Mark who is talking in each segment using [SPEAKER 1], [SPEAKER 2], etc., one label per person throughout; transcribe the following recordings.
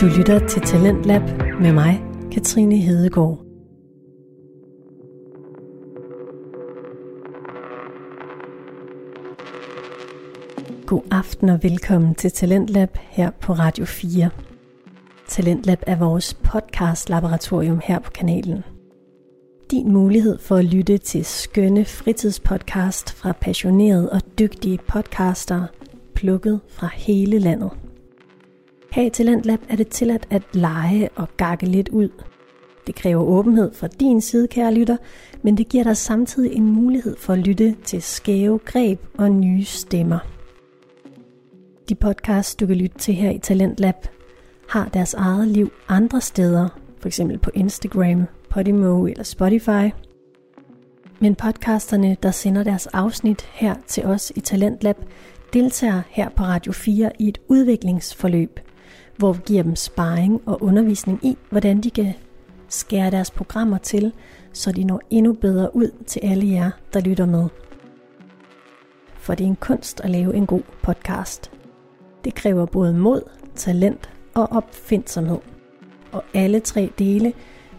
[SPEAKER 1] Du lytter til Talentlab med mig, Katrine Hedegaard. God aften og velkommen til Talentlab her på Radio 4. Talentlab er vores podcast-laboratorium her på kanalen. Din mulighed for at lytte til skønne fritidspodcast fra passionerede og dygtige podcaster, plukket fra hele landet. Her i Talentlab er det tilladt at lege og gakke lidt ud. Det kræver åbenhed fra din side, kære lytter, men det giver dig samtidig en mulighed for at lytte til skæve greb og nye stemmer. De podcasts, du kan lytte til her i Talentlab, har deres eget liv andre steder, f.eks. på Instagram, Podimo eller Spotify. Men podcasterne, der sender deres afsnit her til os i Talentlab, deltager her på Radio 4 i et udviklingsforløb – hvor vi giver dem sparring og undervisning i, hvordan de kan skære deres programmer til, så de når endnu bedre ud til alle jer, der lytter med. For det er en kunst at lave en god podcast. Det kræver både mod, talent og opfindsomhed. Og alle tre dele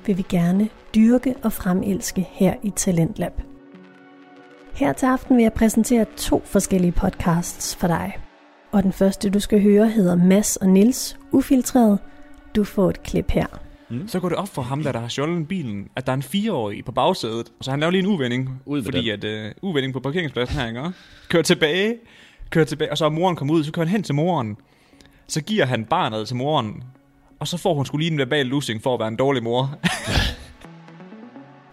[SPEAKER 1] vil vi gerne dyrke og fremelske her i Talentlab. Her til aften vil jeg præsentere to forskellige podcasts for dig – og den første, du skal høre, hedder Mass og Nils Ufiltreret. Du får et klip her.
[SPEAKER 2] Mm. Så går det op for ham, der, der har stjålet bilen, at der er en fireårig på bagsædet. Så han laver lige en uvending,
[SPEAKER 3] Ud med
[SPEAKER 2] fordi at øh, uvending på parkeringspladsen her, ikke? Kører tilbage, kører tilbage, og så er moren kommet ud, så kører han hen til moren. Så giver han barnet til moren, og så får hun skulle lige en verbal losing for at være en dårlig mor.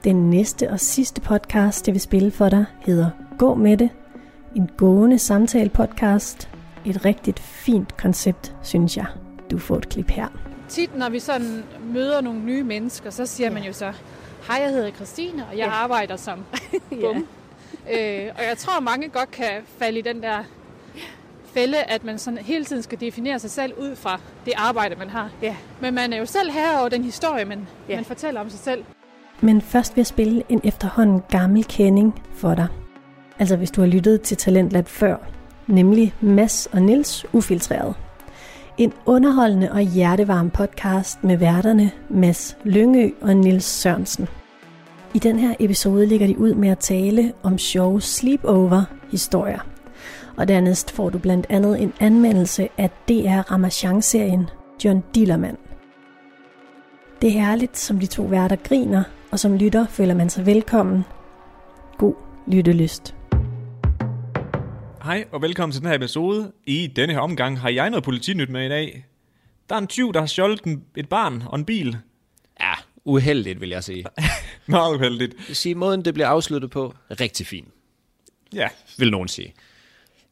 [SPEAKER 1] Den næste og sidste podcast, jeg vil spille for dig, hedder Gå med det. En gående samtale podcast. Et rigtigt fint koncept, synes jeg. Du får et klip her.
[SPEAKER 4] tit, når vi sådan møder nogle nye mennesker, så siger ja. man jo så, hej, jeg hedder Christine, og jeg ja. arbejder som bum. ja. øh, og jeg tror, mange godt kan falde i den der fælde, at man sådan hele tiden skal definere sig selv ud fra det arbejde, man har.
[SPEAKER 5] Ja.
[SPEAKER 4] Men man er jo selv her over den historie, man,
[SPEAKER 5] Ja.
[SPEAKER 4] ja. man fortæller om sig selv.
[SPEAKER 1] Men først vil jeg spille en efterhånden gammel kending for dig. Altså hvis du har lyttet til Talentlab før, nemlig Mass og Nils Ufiltreret. En underholdende og hjertevarm podcast med værterne Mads Lyngø og Nils Sørensen. I den her episode ligger de ud med at tale om sjove sleepover-historier. Og dernæst får du blandt andet en anmeldelse af DR Ramachan-serien John Dillermand. Det er herligt, som de to værter griner, og som lytter føler man sig velkommen. God lyttelyst.
[SPEAKER 2] Hej og velkommen til den her episode. I denne her omgang har jeg noget politinyt med i dag. Der er en tyv, der har stjålet en, et barn og en bil.
[SPEAKER 3] Ja, uheldigt, vil jeg sige.
[SPEAKER 2] Meget uheldigt.
[SPEAKER 3] Sige måden, det bliver afsluttet på, rigtig fint,
[SPEAKER 2] Ja,
[SPEAKER 3] vil nogen sige.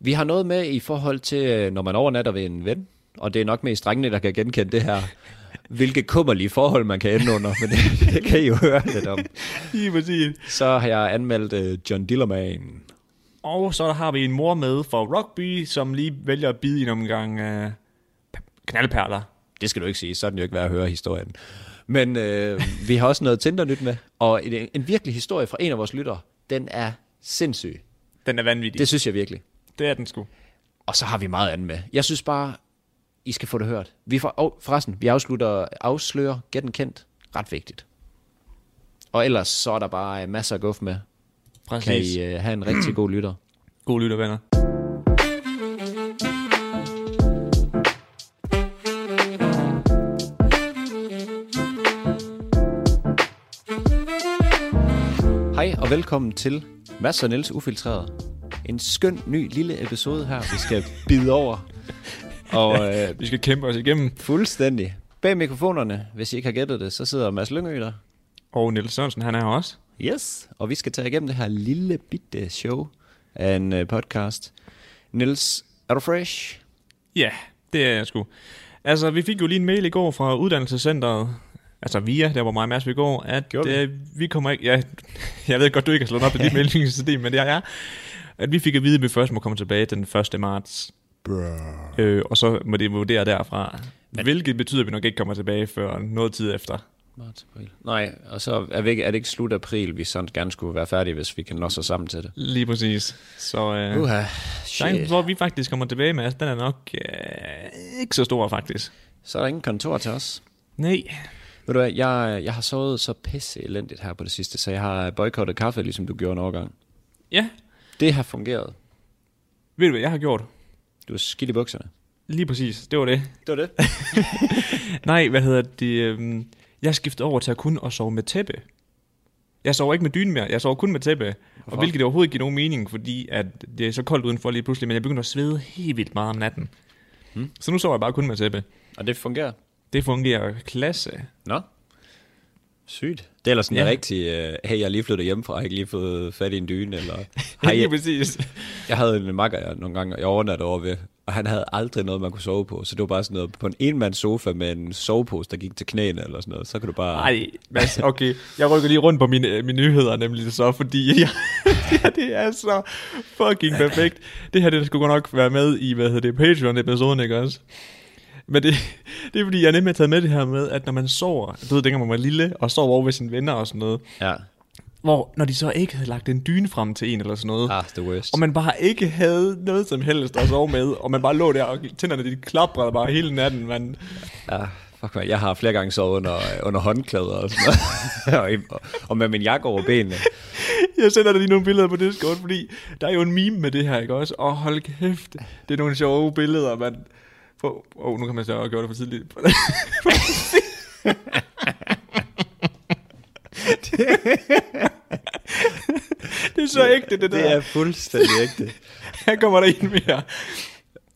[SPEAKER 3] Vi har noget med i forhold til, øh, når man overnatter ved en ven, og det er nok mest drengene, der kan genkende det her, hvilke kummerlige forhold man kan ende under, men det, det kan I jo høre lidt om.
[SPEAKER 2] lige præcis.
[SPEAKER 3] Så har jeg anmeldt øh, John Dillerman.
[SPEAKER 2] Og så har vi en mor med for rugby, som lige vælger at bide i en omgang øh, p- knaldperler.
[SPEAKER 3] Det skal du ikke sige, så er den jo ikke værd at høre historien. Men øh, vi har også noget Tinder-nyt med, og en, en virkelig historie fra en af vores lyttere, den er sindssyg.
[SPEAKER 2] Den er vanvittig.
[SPEAKER 3] Det
[SPEAKER 2] Det,
[SPEAKER 3] synes jeg virkelig.
[SPEAKER 2] det er den sgu.
[SPEAKER 3] Og så har vi meget andet med. Jeg synes bare, I skal få det hørt. Vi for, og forresten, vi afslutter, afslører, get den kendt. Ret vigtigt. Og ellers så er der bare øh, masser af guf med. Kan
[SPEAKER 2] Præcis.
[SPEAKER 3] I øh, have en rigtig god lytter.
[SPEAKER 2] God lytter, venner.
[SPEAKER 3] Hej og velkommen til Mads og Niels Ufiltreret. En skøn ny lille episode her, vi skal bide over. Og øh,
[SPEAKER 2] Vi skal kæmpe os igennem.
[SPEAKER 3] fuldstændig. Bag mikrofonerne, hvis I ikke har gættet det, så sidder Mads Lyngø der.
[SPEAKER 2] Og Niels Sørensen, han er her også.
[SPEAKER 3] Yes. Og vi skal tage igennem det her lille bitte show af en øh, podcast. Niels, er du fresh?
[SPEAKER 2] Ja, det er jeg sgu. Altså, vi fik jo lige en mail i går fra uddannelsescenteret, altså via, der hvor mig og Mads vi går, at
[SPEAKER 3] Gjorde vi?
[SPEAKER 2] øh, vi kommer ikke... Ja, jeg ved godt, du ikke har slået op i dit meldingssystem, men det er jeg. At vi fik at vide, at vi først må komme tilbage den 1. marts. Øh, og så må det vurdere derfra. Hvilket betyder, at vi nok ikke kommer tilbage før noget tid efter.
[SPEAKER 3] Marts, april. Nej, og så er, vi ikke, er det ikke slut april, vi sådan gerne skulle være færdige, hvis vi kan nå os sammen til det.
[SPEAKER 2] Lige præcis. Så øh, der
[SPEAKER 3] Uha,
[SPEAKER 2] er en,
[SPEAKER 3] shit.
[SPEAKER 2] hvor vi faktisk kommer tilbage med, den er nok øh, ikke så stor faktisk.
[SPEAKER 3] Så er der ingen kontor til os.
[SPEAKER 2] Nej.
[SPEAKER 3] Ved du hvad, jeg, jeg har sovet så pisse elendigt her på det sidste, så jeg har boykottet kaffe, ligesom du gjorde en overgang.
[SPEAKER 2] Ja,
[SPEAKER 3] Det har fungeret.
[SPEAKER 2] ved du hvad jeg har gjort?
[SPEAKER 3] Du er skidt i bukserne.
[SPEAKER 2] Lige præcis, det var det.
[SPEAKER 3] Det var det.
[SPEAKER 2] Nej, hvad hedder det? øhm, Jeg skiftede over til at kun at sove med tæppe. Jeg sover ikke med dyne mere, jeg sover kun med tæppe. Hvorfor? Og hvilket overhovedet ikke giver nogen mening, fordi at det er så koldt udenfor lige pludselig, men jeg begynder at svede helt vildt meget om natten. Hmm. Så nu sover jeg bare kun med tæppe.
[SPEAKER 3] Og det fungerer.
[SPEAKER 2] Det fungerer klasse.
[SPEAKER 3] Nå. Sygt. Det er ellers sådan
[SPEAKER 2] Ja.
[SPEAKER 3] en rigtig, øh, hey, jeg er lige flyttet hjemmefra, jeg har ikke lige fået fat i en dyne, eller...
[SPEAKER 2] Hej,
[SPEAKER 3] Hej,
[SPEAKER 2] lige
[SPEAKER 3] jeg,
[SPEAKER 2] præcis.
[SPEAKER 3] jeg havde en makker jeg, nogle gange, og jeg overnattede over ved, og han havde aldrig noget, man kunne sove på, så det var bare sådan noget på en enmands sofa med en sovepose, der gik til knæene eller sådan noget, så kan du bare...
[SPEAKER 2] Nej, Mads, okay. Jeg rykker lige rundt på mine, øh, mine nyheder nemlig så, fordi jeg, det, her, det er så fucking perfekt. Det her, det skulle godt nok være med i, hvad hedder det, Patreon-episoden, ikke også? Men det, det er fordi, jeg nemlig har taget med det her med, at når man sover, du ved, dengang man var lille, og sover over ved sine venner og sådan noget,
[SPEAKER 3] Ja.
[SPEAKER 2] hvor når de så ikke havde lagt en dyne frem til en eller sådan noget,
[SPEAKER 3] Ah, the worst.
[SPEAKER 2] og man bare ikke havde noget som helst at sove med, og man bare lå der, og tænderne de klaprede bare hele natten, man.
[SPEAKER 3] Ja, Ah, fuck man. Jeg har flere gange sovet under, øh, under håndklæder og sådan noget. og, i- og, og med min jakke over benene.
[SPEAKER 2] Jeg sender dig lige nogle billeder på Discord, fordi der er jo en meme med det her, ikke også? Og hold kæft, det er nogle sjove billeder, man... Åh, oh, nu kan man så også gøre det for tidligt. det er så ægte, det der.
[SPEAKER 3] Det er fuldstændig ægte.
[SPEAKER 2] Her kommer der en mere.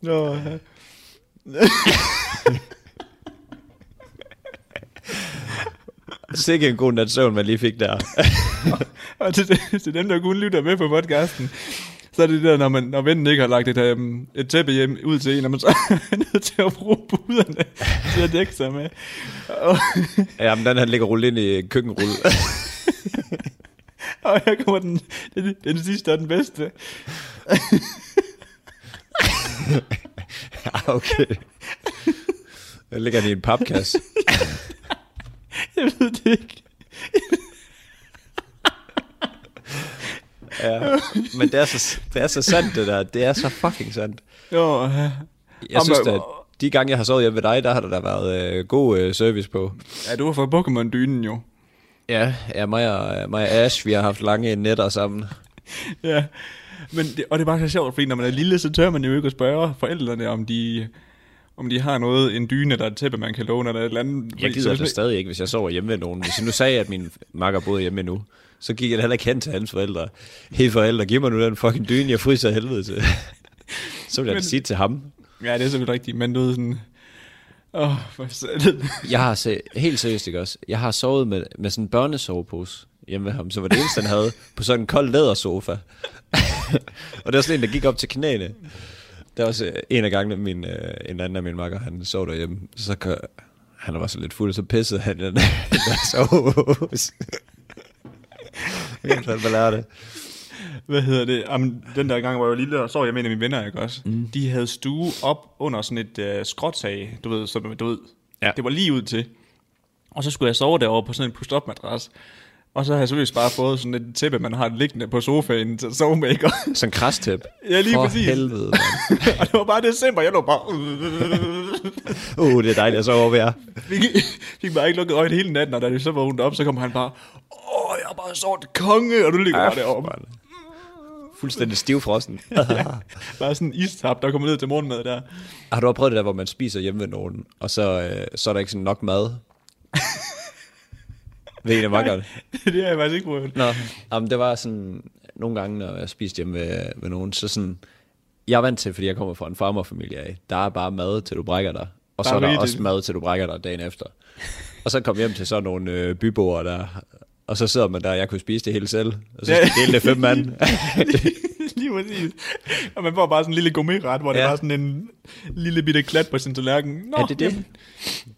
[SPEAKER 2] Nå, ja.
[SPEAKER 3] Sikke en god nat søvn, man lige fik der.
[SPEAKER 2] og til, til dem, der kun lytter med på podcasten, så er det det der, når, man, når vennen ikke har lagt et, um, et tæppe hjem ud til en, og man så er nødt til at bruge buderne til at dække sig med. Og,
[SPEAKER 3] Jamen, den her ligger rullet ind i køkkenrulle.
[SPEAKER 2] og her kommer den, den, den sidste og den bedste.
[SPEAKER 3] Ja, okay. Den ligger den i en papkasse.
[SPEAKER 2] Jeg ved det ikke.
[SPEAKER 3] Ja. Men det er, så, det er så sandt, det der. Det er så fucking sandt.
[SPEAKER 2] Jo,
[SPEAKER 3] Jeg
[SPEAKER 2] Om,
[SPEAKER 3] synes
[SPEAKER 2] øh,
[SPEAKER 3] at de gange, jeg har sovet hjemme ved dig, der har der da været øh, god øh, service på.
[SPEAKER 2] ja, du var fra Pokémon-dynen jo.
[SPEAKER 3] Ja, ja mig, og, øh, mig og Ash, vi har haft lange netter sammen.
[SPEAKER 2] Ja. Men det, og det er bare så sjovt, fordi når man er lille, så tør man jo ikke at spørge forældrene, om de, om de har noget, en dyne eller et tæppe, man kan låne, eller et eller andet.
[SPEAKER 3] Jeg
[SPEAKER 2] Fordi så
[SPEAKER 3] gider
[SPEAKER 2] hvis
[SPEAKER 3] da
[SPEAKER 2] man-
[SPEAKER 3] stadig ikke, hvis jeg sover hjemme ved nogen. Hvis jeg nu sagde, at min makker boede hjemme nu, så gik jeg da heller ikke hen til hans forældre. Hey forældre, giv mig nu den fucking dyne, jeg fryser af helvede til. så ville jeg da
[SPEAKER 2] Men-
[SPEAKER 3] sige til ham.
[SPEAKER 2] Ja, det er selvfølgelig rigtigt, men du ved sådan... Åh, oh, for satan.
[SPEAKER 3] Jeg har se, helt seriøst ikke også, jeg har sovet med, med sådan en børnesovepose hjemme ved ham, som var det eneste, han havde, på sådan en kold lædersofa. og det var sådan en, der gik op til knæene. Der var også øh, en af gangene, min, øh, en anden af mine makker, han sov derhjemme, så kan, han var så lidt fuld, så pissede han i den der sovepose. Jeg kan fandme lære det.
[SPEAKER 2] Hvad hedder det? Jamen, den der gang, hvor jeg var lille, og så jeg med en af mine venner, ikke også? Mm. De havde stue op under sådan et øh, skråtag, du ved, som, du ved.
[SPEAKER 3] Ja.
[SPEAKER 2] Det var lige ud til. Og så skulle jeg sove derovre på sådan en push-up madras. Og så har jeg selvfølgelig bare fået sådan et tæppe, man har liggende på sofaen til at sove med, ikke? også?
[SPEAKER 3] Sådan en krastæp.
[SPEAKER 2] Ja, lige
[SPEAKER 3] For
[SPEAKER 2] præcis.
[SPEAKER 3] helvede, mand.
[SPEAKER 2] og det var bare december, jeg lå bare...
[SPEAKER 3] Uh, det er dejligt at sove over ved jer.
[SPEAKER 2] fik, fik bare ikke lukket øjnene hele natten, og da det så var vågnet op, så kom han bare... Åh, jeg har bare sovet konge, og du ligger bare deroppe.
[SPEAKER 3] Ah, Fuldstændig stivfrossen.
[SPEAKER 2] Bare sådan en istap, der kommer ned til morgenmad der.
[SPEAKER 3] Har du også prøvet det der, hvor man spiser hjemme ved nogen, og så, øh, så er der ikke sådan nok mad? ved en af makkerne?
[SPEAKER 2] det har jeg faktisk ikke prøvet.
[SPEAKER 3] Nå, jamen, det var sådan, nogle gange, når jeg spiste hjemme ved, ved nogen, så sådan, jeg er vant til, fordi jeg kommer fra en farmerfamilie af, der er bare mad, til du brækker dig. Og så
[SPEAKER 2] Bare
[SPEAKER 3] er der
[SPEAKER 2] rigeligt.
[SPEAKER 3] også mad, til du brækker dig dagen efter. Og så kom jeg hjem til sådan nogle øh, byboer der, og så sidder man der, og jeg kunne spise det hele selv, og så
[SPEAKER 2] Ja.
[SPEAKER 3] skal jeg dele det fem mand.
[SPEAKER 2] Lige præcis. Og man får bare sådan en lille gourmetret, hvor ja. det
[SPEAKER 3] Ja.
[SPEAKER 2] er bare sådan en lille bitte klat på sin tallerken. Nå,
[SPEAKER 3] er det det?
[SPEAKER 2] jamen.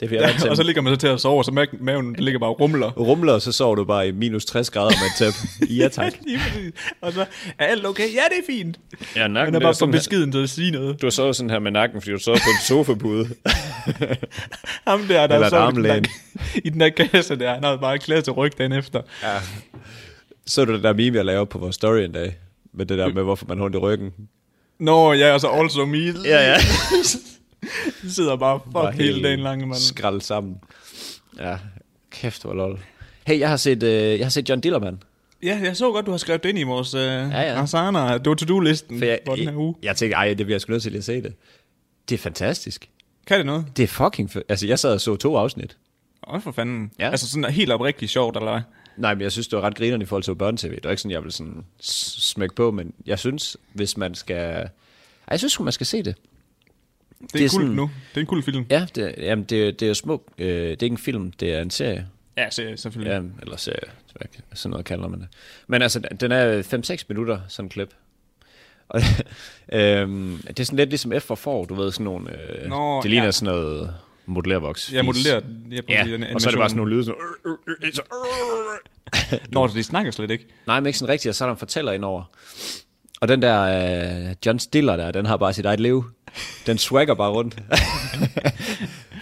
[SPEAKER 3] Det er jeg er vant til.
[SPEAKER 2] og så ligger man så til at sove, og så ma- maven den ligger bare og rumler.
[SPEAKER 3] rumler, så sover du bare i minus 60 grader med et tæp. Ja, tak.
[SPEAKER 2] Lige præcis. Og så er alt okay. Ja, det er fint.
[SPEAKER 3] Ja,
[SPEAKER 2] Han
[SPEAKER 3] nakken,
[SPEAKER 2] er bare for beskeden til at sige noget.
[SPEAKER 3] Du har sovet sådan her med nakken, fordi du sovet på en sofapude.
[SPEAKER 2] Ham der, der så
[SPEAKER 3] Eller et
[SPEAKER 2] i den der,
[SPEAKER 3] armlæn.
[SPEAKER 2] i den der kasse der, han havde bare klasse ryg dagen efter.
[SPEAKER 3] så du det der meme, jeg lavede på vores story en dag? Med det der med, hvorfor man har ondt i ryggen.
[SPEAKER 2] Nå, ja, og så also me.
[SPEAKER 3] ja.
[SPEAKER 2] De sidder bare fuck
[SPEAKER 3] Bare
[SPEAKER 2] bare hele
[SPEAKER 3] helt
[SPEAKER 2] dagen lang, mand.
[SPEAKER 3] Skrald sammen. Ja, kæft hvor lol. Hey, jeg har set, øh, jeg har set John Dillermand.
[SPEAKER 2] Ja, jeg så godt, du har skrevet det ind i vores øh, ja,
[SPEAKER 3] ja.
[SPEAKER 2] ja. Asana øh, do to do listen
[SPEAKER 3] For jeg,
[SPEAKER 2] for den her uge.
[SPEAKER 3] jeg, jeg tænkte, ej, det bliver jeg sgu nødt til lige at se det. Det er fantastisk.
[SPEAKER 2] Kan det noget?
[SPEAKER 3] Det er fucking fedt. Altså, jeg sad og så to afsnit.
[SPEAKER 2] Åh, for fanden.
[SPEAKER 3] Ja.
[SPEAKER 2] Ja. Altså sådan helt oprigtigt sjovt, eller hvad?
[SPEAKER 3] Nej, men jeg synes, det var ret grinerende i forhold til børne-tv. Det var ikke sådan, jeg ville sådan s- smække på, men jeg synes, hvis man skal... Ej, jeg synes sgu, man skal se det.
[SPEAKER 2] Det er,
[SPEAKER 3] Det er
[SPEAKER 2] cool
[SPEAKER 3] sådan-
[SPEAKER 2] nu. Det er en cool film.
[SPEAKER 3] Ja, det, jamen, det, det er jo smuk. Øh, det er ikke en film, det er en serie.
[SPEAKER 2] Ja, se, selvfølgelig. Ja.
[SPEAKER 3] Ja, eller serie. Hvad- Sådan noget kalder man det. Men altså, den er 5-6 minutter, sådan en klip. Og, øhm, det er sådan lidt ligesom F for for, du ved, sådan nogle... Øh,
[SPEAKER 2] Nå,
[SPEAKER 3] det ligner
[SPEAKER 2] ja.
[SPEAKER 3] sådan noget modellervoks.
[SPEAKER 2] Jeg modellerer jeg
[SPEAKER 3] Ja,
[SPEAKER 2] den
[SPEAKER 3] og så er det
[SPEAKER 2] animation.
[SPEAKER 3] bare sådan nogle lyde, sådan... Øh, øh, øh, så, øh, øh.
[SPEAKER 2] Nå, så de snakker slet ikke.
[SPEAKER 3] Nej, men ikke sådan rigtigt, og så er der en fortæller indover. Og den der øh, John Stiller der, den har bare sit eget liv. Den swagger bare rundt.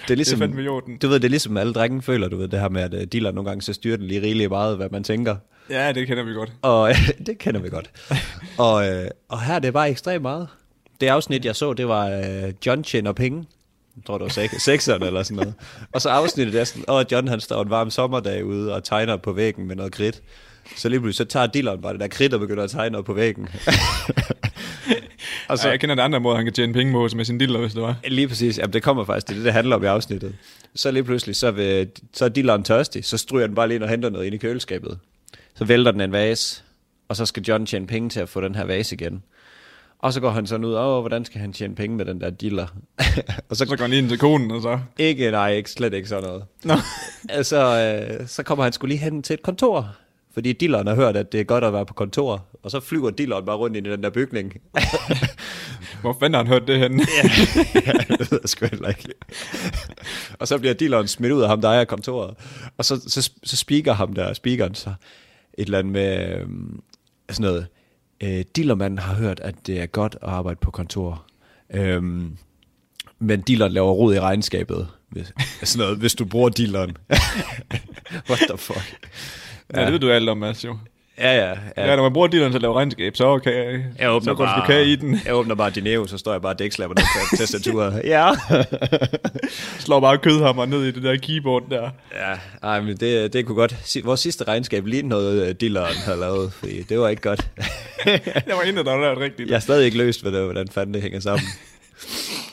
[SPEAKER 3] det er ligesom,
[SPEAKER 2] fandme i orden.
[SPEAKER 3] Du ved, det er ligesom alle drenge føler, du ved, det her med, at øh, dealer nogle gange, så styrer den lige rigeligt meget, hvad man tænker.
[SPEAKER 2] Ja, det kender vi godt.
[SPEAKER 3] Og øh, det kender vi godt. Og, øh, og her er det bare ekstremt meget. Det afsnit, jeg så, det var øh, John tjener penge. Jeg tror, det var sek- sekseren eller sådan noget. Og så afsnittet er sådan, og John han står en varm sommerdag ude og tegner på væggen med noget kridt. Så lige pludselig, så tager dealeren bare det der kridt og begynder at tegne op på væggen. og
[SPEAKER 2] Altså, ja, jeg kender den andre måde, han kan tjene penge på med sin diller, hvis det var.
[SPEAKER 3] Lige præcis. Jamen, det kommer faktisk, det er det, det handler om i afsnittet. Så lige pludselig, så, vil, så er dealeren tørstig, så stryger den bare lige ind og henter noget ind i køleskabet. Så vælter den en vase, og så skal John tjene penge til at få den her vase igen. Og så går han sådan ud, åh, hvordan skal han tjene penge med den der dealer? og så
[SPEAKER 2] Så går han lige ind til konen, og så...
[SPEAKER 3] ikke, nej, ikke, slet ikke sådan noget.
[SPEAKER 2] Nå.
[SPEAKER 3] Altså, øh, så kommer han skulle lige hen til et kontor, fordi dealeren har hørt, at det er godt at være på kontor. Og så flyver dealeren bare rundt ind i den der bygning.
[SPEAKER 2] Hvor fanden har han hørt det henne?
[SPEAKER 3] ja, det ved jeg sgu heller ikke. og så bliver dealeren smidt ud af ham, der ejer kontoret. Og så, så, så speaker ham der, speakeren så et eller andet med øhm, sådan noget. Øh, dealermanden har hørt, at det er godt at arbejde på kontor. Øhm, men dealeren laver rod i regnskabet. Hvis, sådan noget, hvis du bruger dealeren. What the fuck?
[SPEAKER 2] Ja, det ved du alt om, Mads, jo.
[SPEAKER 3] Ja, ja.
[SPEAKER 2] Ja, ja når man bruger dilleren til at lave regnskab, så okay.
[SPEAKER 3] Jeg åbner
[SPEAKER 2] så går
[SPEAKER 3] bare,
[SPEAKER 2] du kan i den.
[SPEAKER 3] Jeg åbner bare Dineo, så står jeg bare og dækslapper ned på tastaturet. ja.
[SPEAKER 2] Slår bare kødhammer ned i det der keyboard der.
[SPEAKER 3] Ja, ej, men det, det kunne godt. Si- Vores sidste regnskab lige noget, øh, dealeren havde lavet, fordi det var ikke godt.
[SPEAKER 2] Der var intet, der var lært rigtigt.
[SPEAKER 3] Jeg har stadig ikke løst, hvad det, hvordan fanden det hænger sammen.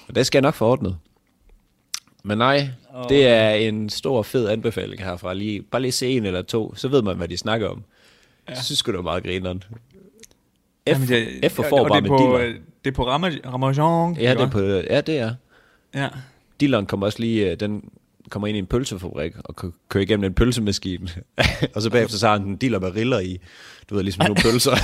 [SPEAKER 3] Og det skal jeg nok få ordnet. Men nej, det er en stor, fed anbefaling herfra. Lige, bare lige se en eller to, så ved man, hvad de snakker om. Ja. Jeg synes sgu, det var meget grineren. F,
[SPEAKER 2] Jamen,
[SPEAKER 3] F for
[SPEAKER 2] og-
[SPEAKER 3] får
[SPEAKER 2] og
[SPEAKER 3] bare
[SPEAKER 2] det
[SPEAKER 3] med
[SPEAKER 2] er på,
[SPEAKER 3] dealeren.
[SPEAKER 2] øh, Det er på Ramaj- Ramajan.
[SPEAKER 3] Ja, det er
[SPEAKER 2] ikke
[SPEAKER 3] på, ja, det er.
[SPEAKER 2] hva'? Ja.
[SPEAKER 3] Dealeren kommer også lige, øh, den kommer ind i en pølsefabrik og kø- kører igennem en pølsemaskine. og så bagefter så har han en dealer med riller i, du ved, ligesom nogle pølser.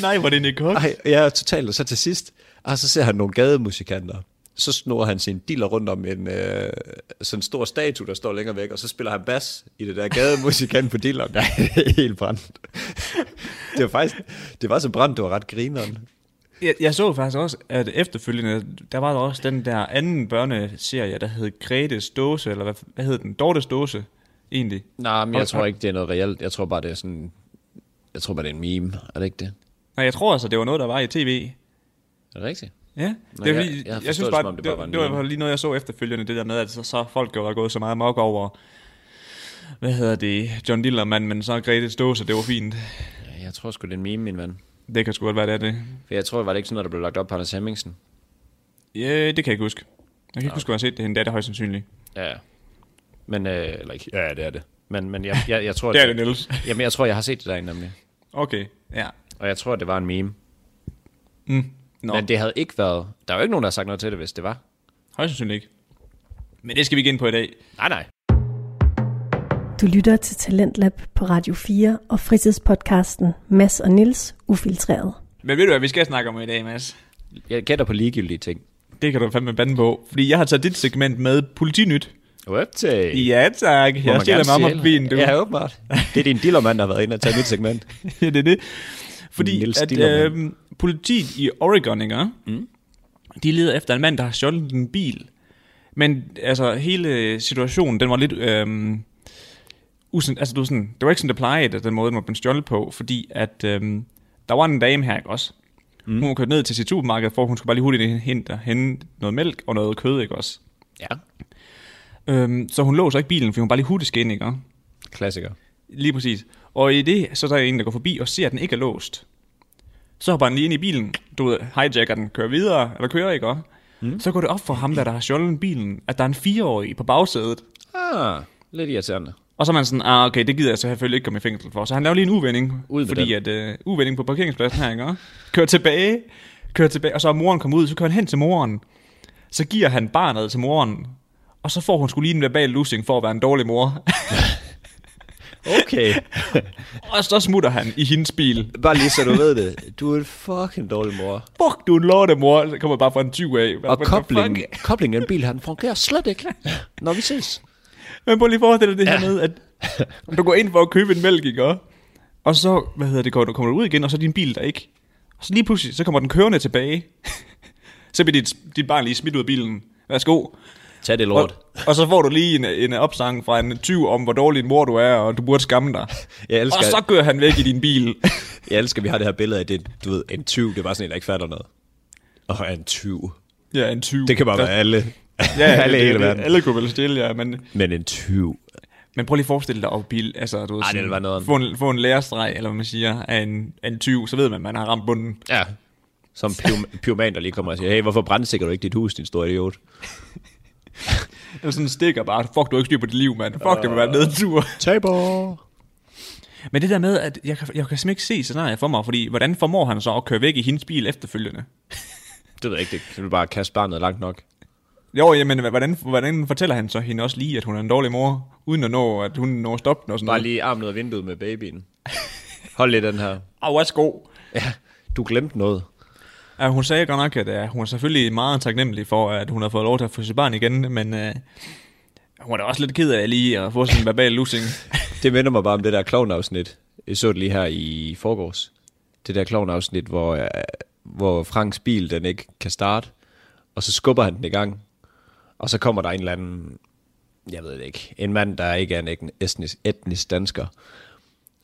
[SPEAKER 2] Nej, hvor er det ikke godt.
[SPEAKER 3] Ej, ja, totalt. Og så til sidst, og så ser han nogle gademusikanter. Så snor han sin dealer rundt om en øh, sådan en stor statue, der står længere væk, og så spiller han bas i det der gademusikant på dealeren. Nej, det er helt brændt. Det var faktisk, det var så brændt, det var ret grineren.
[SPEAKER 2] Jeg, jeg så faktisk også, at efterfølgende, der var der også den der anden børneserie, der hed Gretes Dåse, eller hvad, hvad hed den? Dortes Dåse, egentlig.
[SPEAKER 3] Nej, men
[SPEAKER 2] jeg tror
[SPEAKER 3] ikke, det er noget reelt. Jeg tror bare, det er sådan... Jeg tror bare, det er en meme. Er det ikke det?
[SPEAKER 2] Nej, jeg tror altså, det var noget, der var i tv.
[SPEAKER 3] Er det rigtigt?
[SPEAKER 2] Ja,
[SPEAKER 3] Nå,
[SPEAKER 2] det er,
[SPEAKER 3] jeg-
[SPEAKER 2] fordi,
[SPEAKER 3] jeg har
[SPEAKER 2] jeg,
[SPEAKER 3] forstået
[SPEAKER 2] jeg synes
[SPEAKER 3] det,
[SPEAKER 2] bare,
[SPEAKER 3] som om
[SPEAKER 2] det,
[SPEAKER 3] det
[SPEAKER 2] det,
[SPEAKER 3] bare
[SPEAKER 2] det,
[SPEAKER 3] var en
[SPEAKER 2] var i
[SPEAKER 3] meme.
[SPEAKER 2] hvert fald lige noget, jeg så efterfølgende, det der med, at så, så folk jo var gået så meget mok over, hvad hedder det, John Dillermand, men så Grete Ståse, det var fint.
[SPEAKER 3] Jeg tror sgu, det er en meme, min ven.
[SPEAKER 2] Det kan sgu godt være, det er det.
[SPEAKER 3] For jeg tror, var det ikke sådan noget, der blev lagt op på Anders Hemmingsen?
[SPEAKER 2] Ja, yeah, det kan jeg ikke huske. Jeg kan ikke huske, at jeg har set det hende, det er det højst sandsynligt.
[SPEAKER 3] Ja. Men, øh, eller ikke. Ja, det er det. Men, men jeg, jeg, jeg tror,
[SPEAKER 2] Det er det, Niels.
[SPEAKER 3] Jamen, jeg tror, jeg har set det derinde nemlig.
[SPEAKER 2] Okay, ja.
[SPEAKER 3] Og jeg tror, det var en meme.
[SPEAKER 2] Mm.
[SPEAKER 3] Nå.
[SPEAKER 2] Nå.
[SPEAKER 3] Men det havde ikke været... Der var jo ikke nogen, der har sagt noget til det, hvis det var.
[SPEAKER 2] Højst sandsynligt ikke. Men det skal vi ikke ind på i dag.
[SPEAKER 3] Nej, nej.
[SPEAKER 1] Du lytter til Talentlab på Radio 4 og fritidspodcasten Mass og Nils Ufiltreret.
[SPEAKER 2] Men ved du, hvad vi skal snakke om i dag, Mads?
[SPEAKER 3] Jeg gætter på ligegyldige ting.
[SPEAKER 2] Det kan du fandme bande på. Fordi jeg har taget dit segment med politinyt.
[SPEAKER 3] Webtag.
[SPEAKER 2] Ja tak, jeg stiller mig om på bilen, du.
[SPEAKER 3] Ja, åbenbart. Det er din dillermand, der har været inde og taget mit segment.
[SPEAKER 2] Ja, det er det. Fordi
[SPEAKER 3] Niels
[SPEAKER 2] at
[SPEAKER 3] Dillermand.
[SPEAKER 2] øh, politiet i Oregon, ikke? Mm. de leder efter en mand, der har stjålet en bil. Men altså, hele situationen, den var lidt... Øh, usen, altså, det, var sådan, øhm, det var ikke sådan, det plejede, at den måde, den var blevet stjålet på, fordi at øh, der var en dame her, ikke også? Mm. Hun kørte ned til sit supermarked, for hun skulle bare lige hurtigt hente, hente noget mælk og noget kød, ikke også?
[SPEAKER 3] Ja,
[SPEAKER 2] Øhm, så hun låser ikke bilen, for hun bare lige hurtigt skal ind, ikke? også?
[SPEAKER 3] klassiker.
[SPEAKER 2] Lige præcis. Og i det, så er der en, der går forbi og ser, at den ikke er låst. Så hopper han lige ind i bilen, du ved, hijacker den, kører videre, eller kører ikke, også? Mm. Så går det op for ham, der, der har stjålet bilen, at der er en fireårig på bagsædet.
[SPEAKER 3] Ah, lidt irriterende.
[SPEAKER 2] Og så er man sådan, ah, okay, det gider jeg så selvfølgelig ikke komme i fængsel for. Så han laver lige en uvending,
[SPEAKER 3] Ud med
[SPEAKER 2] fordi at øh, uvending på parkeringspladsen her, ikke? også? Kører tilbage, kører tilbage, og så er moren kommet ud, så kører han hen til moren. Så giver han barnet til moren, og så får hun skulle lige en verbal losing for at være en dårlig mor.
[SPEAKER 3] Okay.
[SPEAKER 2] og så smutter han i hendes bil.
[SPEAKER 3] Bare lige så du ved det. Du er en fucking dårlig mor.
[SPEAKER 2] Fuck, du er en lortemor. Så kommer bare fra en 20 af. Hvad-
[SPEAKER 3] Og
[SPEAKER 2] hvad-
[SPEAKER 3] koblingen,
[SPEAKER 2] fuck?
[SPEAKER 3] koblingen af en bil, han fungerer slet ikke, når vi ses.
[SPEAKER 2] Men prøv lige at forestille dig det her med, at du går ind for at købe en mælk, ikke? også? Og så, hvad hedder det, går du kommer du ud igen, og så er din bil der ikke. Og så lige pludselig, så kommer den kørende tilbage. så bliver dit, dit barn lige smidt ud af bilen. Værsgo.
[SPEAKER 3] Tag det
[SPEAKER 2] Og,
[SPEAKER 3] lort.
[SPEAKER 2] og så får du lige en, en opsang fra en 20 om, hvor dårlig en mor du er, og du burde skamme dig.
[SPEAKER 3] Jeg elsker-
[SPEAKER 2] og så kører han væk i din bil.
[SPEAKER 3] Jeg elsker, at vi har det her billede af, det, du ved, en tyv, det er bare sådan en, der ikke fatter noget. Og en tyv.
[SPEAKER 2] ja, en 20.
[SPEAKER 3] Det kan bare være alle.
[SPEAKER 2] Ja, ja,
[SPEAKER 3] alle i
[SPEAKER 2] det-
[SPEAKER 3] hele
[SPEAKER 2] det-
[SPEAKER 3] verden.
[SPEAKER 2] Alle kunne vel stille, ja, men...
[SPEAKER 3] Men en tyv.
[SPEAKER 2] Men prøv lige at forestille dig at bil, altså, du ved,
[SPEAKER 3] Ej, det ville være noget af
[SPEAKER 2] få, en, få en lærerstreg, eller hvad man siger, af en, af en 20, så ved man, at man har ramt bunden.
[SPEAKER 3] Ja. Som pyrom- pyroman, der lige kommer og siger, hey, hvorfor brændsikker du ikke dit hus, din store idiot?
[SPEAKER 2] Eller sådan en stikker bare, fuck, du har ikke styr på dit liv, mand. Fuck, det vil
[SPEAKER 3] Øh.
[SPEAKER 2] være en nedtur.
[SPEAKER 3] Taber!
[SPEAKER 2] Men det der med, at jeg, kan- jeg kan simpelthen ikke se scenariet for mig, fordi hvordan formår han så at køre væk i hendes bil efterfølgende?
[SPEAKER 3] Det ved jeg ikke, det kan du bare kaste barnet langt nok.
[SPEAKER 2] Jo, jamen, h- hvordan, hvordan fortæller han så hende også lige, at hun er en dårlig mor, uden at nå, at hun når at stoppe den og sådan
[SPEAKER 3] Bare
[SPEAKER 2] noget?
[SPEAKER 3] lige armen ud af vinduet med babyen. Hold lige den her.
[SPEAKER 2] Au, værsgo.
[SPEAKER 3] Ja, du glemte noget.
[SPEAKER 2] Ja, hun sagde godt nok, at uh, hun er selvfølgelig meget taknemmelig for, at hun har fået lov til at få sit barn igen, men uh, hun er da også lidt ked af lige at få sådan en verbal losing.
[SPEAKER 3] Det minder mig bare om det der klovnafsnit. Jeg så det lige her i forgårs. Det der klovnafsnit, hvor, øh, hvor Franks bil, den ikke kan starte. Og så skubber han den i gang. Og så kommer der en eller anden, jeg ved det ikke, en mand, der ikke er en etn- etnisk, etnisk dansker.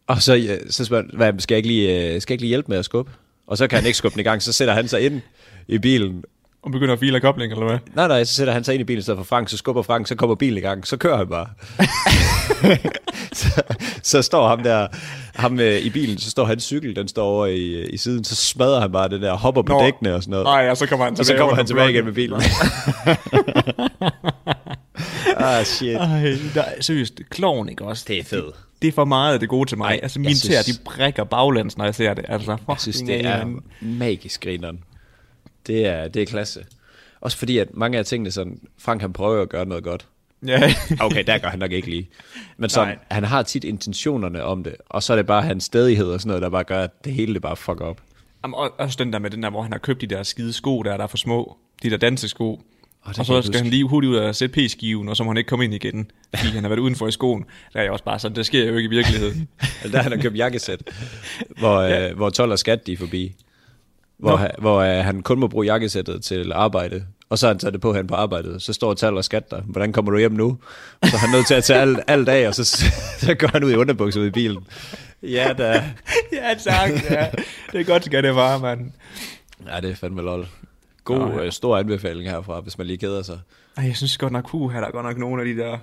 [SPEAKER 3] Og så, ja, så spørger han, hvad, skal jeg, ikke lige, øh, skal jeg ikke lige hjælpe med at skubbe? Og så kan han ikke skubbe den i gang, så sætter han sig ind i bilen.
[SPEAKER 2] Og begynder at file af koblingen, eller hvad?
[SPEAKER 3] Nej, nej, så sætter han sig ind i bilen i stedet for Frank, så skubber Frank, så kommer bilen i gang, så kører han bare. så står ham der, ham øh, i bilen, så står hans cykel, den står over i, i siden, så smadrer han bare den der, hopper på dækkene og sådan noget.
[SPEAKER 2] Nej, og så kommer han
[SPEAKER 3] og
[SPEAKER 2] tilbage.
[SPEAKER 3] så kommer
[SPEAKER 2] under
[SPEAKER 3] han tilbage
[SPEAKER 2] blokken.
[SPEAKER 3] igen med bilen. ah, shit.
[SPEAKER 2] Ej, der, seriøst, kloven ikke også?
[SPEAKER 3] Det er fedt.
[SPEAKER 2] Det er for meget af det gode til mig.
[SPEAKER 3] Ej,
[SPEAKER 2] Ej, altså,
[SPEAKER 3] jeg
[SPEAKER 2] mine
[SPEAKER 3] synes-
[SPEAKER 2] tæer, de brækker baglæns, når jeg ser det. Altså, fucking
[SPEAKER 3] Jeg synes, det er magisk grineren. Det er, det er klasse. Også fordi, at mange af tingene sådan, Frank han prøver at gøre noget godt.
[SPEAKER 2] Ja,
[SPEAKER 3] Okay, der gør han nok ikke lige. Men sådan,
[SPEAKER 2] Nej.
[SPEAKER 3] han har tit intentionerne om det, og så er det bare hans stedighed og sådan noget, der bare gør, at det hele det bare fucker op.
[SPEAKER 2] Jamen, og- også den der med den der, hvor han har købt de der skide sko, der, der er for små. De der dansesko.
[SPEAKER 3] det
[SPEAKER 2] Og,
[SPEAKER 3] kan
[SPEAKER 2] og så
[SPEAKER 3] jeg
[SPEAKER 2] skal
[SPEAKER 3] huske.
[SPEAKER 2] han lige hurtigt ud og sætte p-skiven, og så må han ikke komme ind igen, fordi han har været udenfor i skoen. Der er jeg også bare sådan, det sker jo ikke i virkeligheden.
[SPEAKER 3] Eller der han har købt jakkesæt, hvor, ja. øh, hvor 12 og skat de er forbi. Hvor,
[SPEAKER 2] Nå.
[SPEAKER 3] han, hvor øh, han kun må bruge jakkesættet til arbejde, og så har han taget det på hen på arbejdet. Så står tal og skat der. Hvordan kommer du hjem nu? Så er han nødt til at tage alt, alt af, og så, så går han ud i underbukser ud i bilen. Ja, da.
[SPEAKER 2] ja, tak. Ja. Det er godt, skal det bare, mand.
[SPEAKER 3] Ja, det er fandme lol. God,
[SPEAKER 2] Nå, ja.
[SPEAKER 3] øh, stor anbefaling herfra, hvis man lige keder sig.
[SPEAKER 2] Ej, jeg synes godt nok, huh, her er der godt nok nogle af de der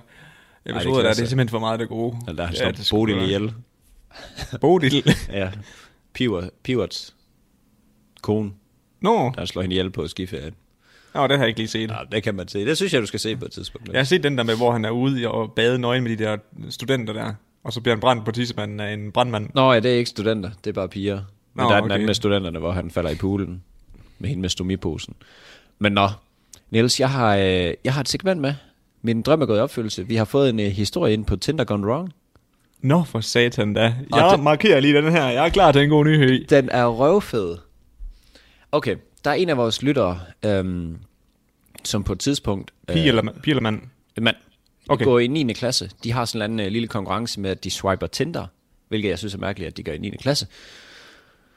[SPEAKER 2] episoder, der, det er
[SPEAKER 3] klasse.
[SPEAKER 2] simpelthen for meget af det gode.
[SPEAKER 3] Eller der han
[SPEAKER 2] Ja,
[SPEAKER 3] ja,
[SPEAKER 2] det
[SPEAKER 3] slår
[SPEAKER 2] skulle
[SPEAKER 3] Bodil
[SPEAKER 2] være.
[SPEAKER 3] ihjel.
[SPEAKER 2] Bodil.
[SPEAKER 3] Ja. Piver, Pivots kone,
[SPEAKER 2] Nå,
[SPEAKER 3] der slår hende ihjel på skiferien.
[SPEAKER 2] Nå, det har jeg ikke lige set.
[SPEAKER 3] Ja, det kan man se. Det synes jeg, du skal se på et tidspunkt.
[SPEAKER 2] Jeg har set den der med, hvor han er ude i at bade nøgen med de der studenter der, og så bliver han brændt på tissemanden af en brandmand.
[SPEAKER 3] Nå ja, det er ikke studenter, det er bare piger.
[SPEAKER 2] Nå,
[SPEAKER 3] Men der er den
[SPEAKER 2] okay.
[SPEAKER 3] anden med studenterne, hvor han falder i poolen med hende med stomiposen. Men nå, Niels, jeg har, øh, jeg har et segment med. Min drøm er gået i opfyldelse. Vi har fået en øh, historie ind på Tinder Gone Wrong.
[SPEAKER 2] Nå for satan da.
[SPEAKER 3] Og
[SPEAKER 2] Jeg
[SPEAKER 3] det-
[SPEAKER 2] markerer lige den her. Jeg er klar til en god nyhed.
[SPEAKER 3] Den er røvfed. Okay, der er en af vores lyttere, øhm, som på et tidspunkt... øh,
[SPEAKER 2] Pige eller, ma- pige eller mand?
[SPEAKER 3] Men okay.
[SPEAKER 2] Okay.
[SPEAKER 3] går i 9. klasse. De har sådan en eller anden øh, lille konkurrence med, at de swiper Tinder, hvilket jeg synes er mærkeligt, at de gør i 9. klasse.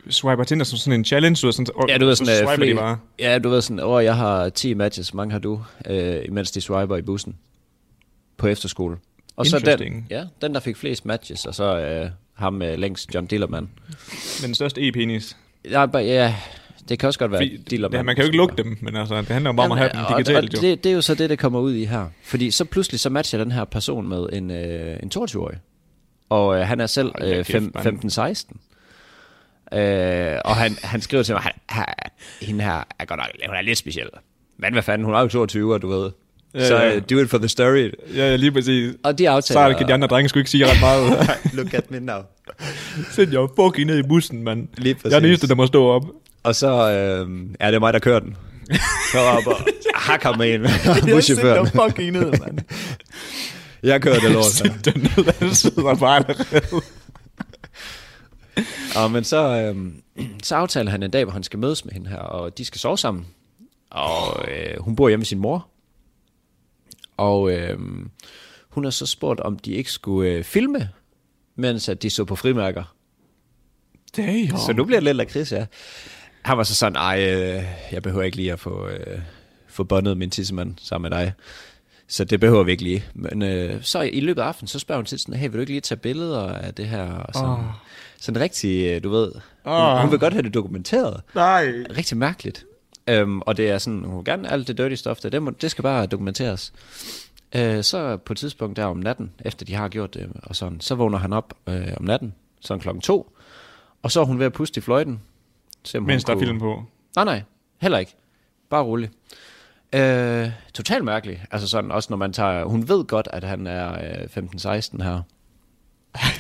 [SPEAKER 2] Swiper Tinder som sådan en challenge, du ved, sådan, og,
[SPEAKER 3] Ja, du ved sådan,
[SPEAKER 2] så
[SPEAKER 3] øh,
[SPEAKER 2] swiper
[SPEAKER 3] flere-
[SPEAKER 2] de bare.
[SPEAKER 3] Ja, du ved sådan, åh, jeg har 10 matches, hvor mange har du, øh, imens de swiper i bussen på efterskole. Og så den,
[SPEAKER 2] Interesting.
[SPEAKER 3] ja, den, der fik flest matches, og så øh, ham øh, længst, John Dillermand.
[SPEAKER 2] Med den største e-penis.
[SPEAKER 3] Ja, bare, ja, Det kan også godt være
[SPEAKER 2] Fordi,
[SPEAKER 3] dealer
[SPEAKER 2] ja, man kan jo ikke lukke dem, men altså, det handler jo bare om at have dem
[SPEAKER 3] og,
[SPEAKER 2] digitalt.
[SPEAKER 3] og
[SPEAKER 2] jo.
[SPEAKER 3] det, det er jo så det, det kommer ud i her. Fordi så pludselig så matcher den her person med en, øh, en 22-årig. Og øh, han er selv
[SPEAKER 2] Hold da
[SPEAKER 3] øh,
[SPEAKER 2] kæft,
[SPEAKER 3] fem-
[SPEAKER 2] mand.
[SPEAKER 3] 15-16. Øh, og han, han skriver til mig, han, han, hende her er godt nok, hun er lidt speciel. Men hvad fanden, hun er jo 22, og du ved.
[SPEAKER 2] Ja,
[SPEAKER 3] så
[SPEAKER 2] ja.
[SPEAKER 3] øh, do it for the story.
[SPEAKER 2] Ja, ja, lige præcis.
[SPEAKER 3] Og de
[SPEAKER 2] Så
[SPEAKER 3] aftaler...
[SPEAKER 2] er det, kan de andre drenge sgu ikke sige ret meget.
[SPEAKER 3] Look at me now.
[SPEAKER 2] Sæt jer fucking ned i bussen, mand.
[SPEAKER 3] Lige præcis.
[SPEAKER 2] Jeg er den eneste, der må stå op.
[SPEAKER 3] Og så øh, er det mig, der kører den. Så op og hakker med en buschaufføren.
[SPEAKER 2] fucking ned, mand.
[SPEAKER 3] Jeg kører det lort her.
[SPEAKER 2] Sæt dig ned, han sidder bare allerede.
[SPEAKER 3] Og men så, øhm, så aftaler han en dag, hvor han skal mødes med hende her, og de skal sove sammen. Og øh, hun bor hjemme med sin mor. Og øh, hun har så spurgt, om de ikke skulle øh, filme, mens at de så på frimærker.
[SPEAKER 2] Damn.
[SPEAKER 3] Så nu bliver det lidt lakrids, ja. Han var så sådan, ej, øh, jeg behøver ikke lige at få, øh, få bondet min tissemand sammen med dig. Så det behøver vi ikke lige. Men øh, så i løbet af aftenen, så spørger hun til sådan, hey, vil du ikke lige tage billeder af det her? Og sådan, oh. sådan rigtig, øh, du ved, hun, hun vil godt have det dokumenteret.
[SPEAKER 2] Nej.
[SPEAKER 3] Rigtig mærkeligt. Øhm, og det er sådan, hun vil gerne alt det dirty stuff, der, det, må, det skal bare dokumenteres. Øh, så på et tidspunkt der om natten, efter de har gjort det, og sådan, så vågner han op øh, om natten, sådan klokken to, og så er hun ved at puste i fløjten. Se, om hun
[SPEAKER 2] Mens der er film på.
[SPEAKER 3] Nej, nej, heller ikke. Bare rolig. Øh, totalt mærkelig. Altså sådan, også når man tager... Hun ved godt, at han er øh, 15-16 her.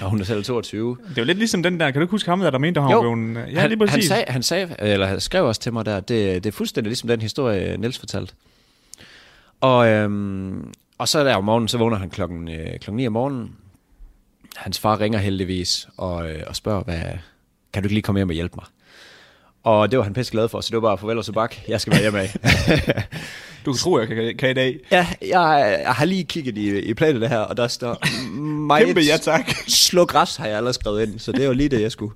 [SPEAKER 3] Og hun er selv 22.
[SPEAKER 2] Det er jo lidt ligesom den der, kan du ikke huske ham, der, der mente, at han var blevet- Ja,
[SPEAKER 3] han,
[SPEAKER 2] lige præcis.
[SPEAKER 3] han, sagde, han, sagde, eller han skrev også til mig der, det, det er fuldstændig ligesom den historie, Niels fortalte. Og, øhm, og så der om morgenen, så vågner han klokken, øh, klokken 9 om morgenen. Hans far ringer heldigvis og, øh, og spørger, hvad, kan du ikke lige komme hjem og hjælpe mig? Og det var han pisse glad for, så det var bare farvel og sobak, jeg skal være hjemme af.
[SPEAKER 2] Du kan tro, jeg kan, kan i dag.
[SPEAKER 3] ja, jeg, jeg, har lige kigget i, i planen det her, og der står meget
[SPEAKER 2] Kæmpe ja tak.
[SPEAKER 3] slå græs, har jeg allerede skrevet ind, så det var lige det, jeg skulle.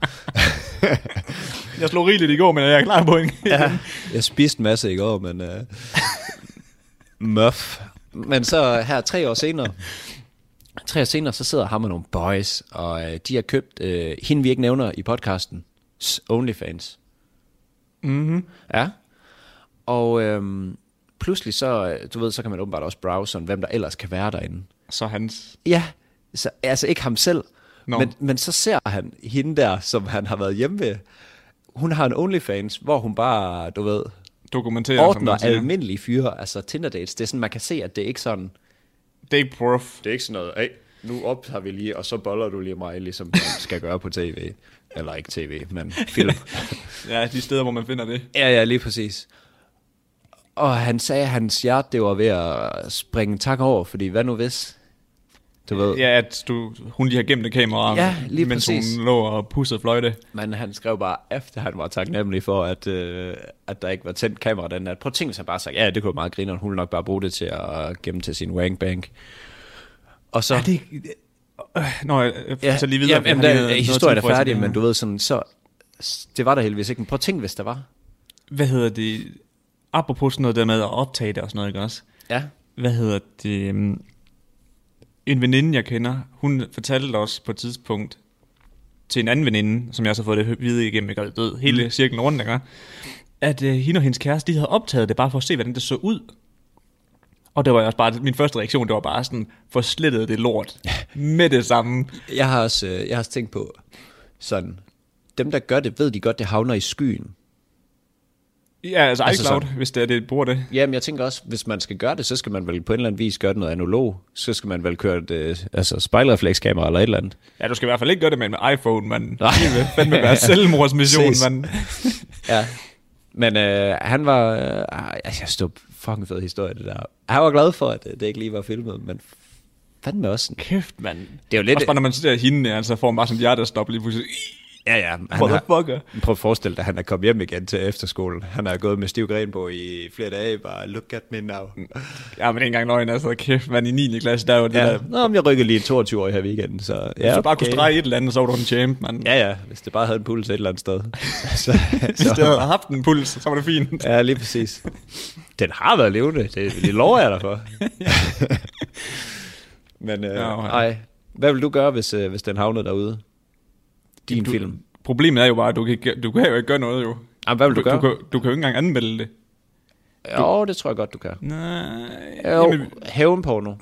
[SPEAKER 2] Jeg slog rigeligt i går, men jeg er klar på en.
[SPEAKER 3] ja. Jeg spiste en masse i går, men... Uh, muff. Men så her tre år senere, tre år senere, så sidder ham og nogle boys, og øh, de har købt øh, hende, vi ikke nævner i podcasten, s- OnlyFans. Mm-hmm. Ja. Og øhm, pludselig så, øh, du ved, så kan man åbenbart også browse sådan, hvem der ellers kan være derinde.
[SPEAKER 2] Så hans...
[SPEAKER 3] Ja, så, altså ikke ham selv.
[SPEAKER 2] Nå.
[SPEAKER 3] Men, men så ser han hende der, som han har været hjemme ved. Hun har en OnlyFans, hvor hun bare, du ved,
[SPEAKER 2] Dokumenterer, som
[SPEAKER 3] ordner
[SPEAKER 2] man siger.
[SPEAKER 3] almindelige fyre, altså Tinder dates. Det er sådan, man kan se, at det er ikke sådan...
[SPEAKER 2] Det er ikke prof.
[SPEAKER 3] Det er ikke sådan noget, hey, nu optager vi lige, og så boller du lige mig, ligesom man skal gøre på tv. Eller ikke tv, men film.
[SPEAKER 2] Ja, de steder, hvor man finder det.
[SPEAKER 3] ja, ja, lige præcis. Og han sagde, at hans hjerte det var ved at springe tak over, fordi hvad nu hvis? Du ved,
[SPEAKER 2] Ja, at du, hun lige har gemt det kamera,
[SPEAKER 3] Ja, lige
[SPEAKER 2] mens
[SPEAKER 3] præcis.
[SPEAKER 2] hun lå og pussede fløjte.
[SPEAKER 3] Men han skrev bare, efter han var taknemmelig for, at, øh, at der ikke var tændt kamera den nat. Prøv at tænke, hvis han bare sagde, ja, det kunne være meget grineren. Hun ville nok bare bruge det til at gemme til sin wangbank. Og så... Ja, det,
[SPEAKER 2] Øh, Nå, jeg ja, lige videre.
[SPEAKER 3] Jamen,
[SPEAKER 2] for
[SPEAKER 3] der,
[SPEAKER 2] jeg har lige
[SPEAKER 3] er
[SPEAKER 2] noget
[SPEAKER 3] historien er
[SPEAKER 2] tid for at
[SPEAKER 3] færdig,
[SPEAKER 2] se
[SPEAKER 3] men
[SPEAKER 2] det
[SPEAKER 3] du ved sådan, så... Det var der heldigvis ikke, men prøv at tænke, hvis der var.
[SPEAKER 2] her. Hvad hedder det? Apropos sådan noget der med at optage det og sådan noget, ikke også?
[SPEAKER 3] Ja.
[SPEAKER 2] Hvad hedder det? øhm, En veninde, jeg kender, hun fortalte os på et tidspunkt til en anden veninde, som jeg så har fået det at vide igennem, ikke? Og du ved,
[SPEAKER 3] Mm.
[SPEAKER 2] hele cirklen rundt, ikke? At øh, hende og hendes kæreste, de havde optaget det bare for at se, hvordan det så ud. Og det var jeg også bare, min første reaktion, det var bare sådan, forslettet det lort med det samme.
[SPEAKER 3] Jeg har også, øh, jeg har også tænkt på sådan... Dem, der gør det, ved de godt, det havner i skyen.
[SPEAKER 2] Ja, altså
[SPEAKER 3] Altså
[SPEAKER 2] iCloud, altså hvis det er det, bruger det.
[SPEAKER 3] Jamen, jeg tænker også, hvis man skal gøre det, så skal man vel på en eller anden vis gøre det noget analog. Så skal man vel køre et øh, altså spejlreflekskamera eller et eller andet.
[SPEAKER 2] Ja, du skal i hvert fald ikke gøre det med en iPhone, mand.
[SPEAKER 3] Nej.
[SPEAKER 2] Det vil fandme være selvmordsmission,
[SPEAKER 3] Ses.
[SPEAKER 2] mand.
[SPEAKER 3] Ja. Men øh, han var... Øh, ej, jeg synes, det var fucking fed historie, det der. Han var glad for, at øh, det ikke lige var filmet, men fandme også sådan.
[SPEAKER 2] Kæft, mand.
[SPEAKER 3] Det er jo lidt...
[SPEAKER 2] Også bare, når man ser hende, altså får man bare sådan et hjertestop lige pludselig.
[SPEAKER 3] ja, ja. Han har,
[SPEAKER 2] Motherfucker.
[SPEAKER 3] prøv at forestille dig, at han er kommet hjem igen til efterskolen. Han har gået med stiv gren på i flere dage, bare look at me now.
[SPEAKER 2] Ja, men det er ikke engang løgn, altså. Kæft, mand, i 9. klasse, der er jo det ja.
[SPEAKER 3] Ja.
[SPEAKER 2] der.
[SPEAKER 3] Nå, men jeg rykker lige 22 år her weekenden, så... Ja,
[SPEAKER 2] Hvis du bare kunne
[SPEAKER 3] okay.
[SPEAKER 2] strege et eller andet, så var du en champ, mand. Ja.
[SPEAKER 3] Ja, ja, hvis det bare havde en puls et eller andet sted. så,
[SPEAKER 2] Hvis du havde haft en puls, så var det fint.
[SPEAKER 3] Ja, lige præcis. Den har været levende, det, det lover jeg dig for. Men øh,
[SPEAKER 2] Ja, okay.
[SPEAKER 3] ej, hvad vil du gøre, hvis, øh, hvis den havnede derude? Din du... film.
[SPEAKER 2] Problemet er jo bare, at du kan, ikke- du kan jo ikke gøre noget, jo.
[SPEAKER 3] Ej, hvad vil du,
[SPEAKER 2] Du,
[SPEAKER 3] gøre?
[SPEAKER 2] du, kan, du kan jo ikke engang anmelde det.
[SPEAKER 3] Jo, det tror jeg godt, du kan.
[SPEAKER 2] Nej.
[SPEAKER 3] Jo, hævnporno.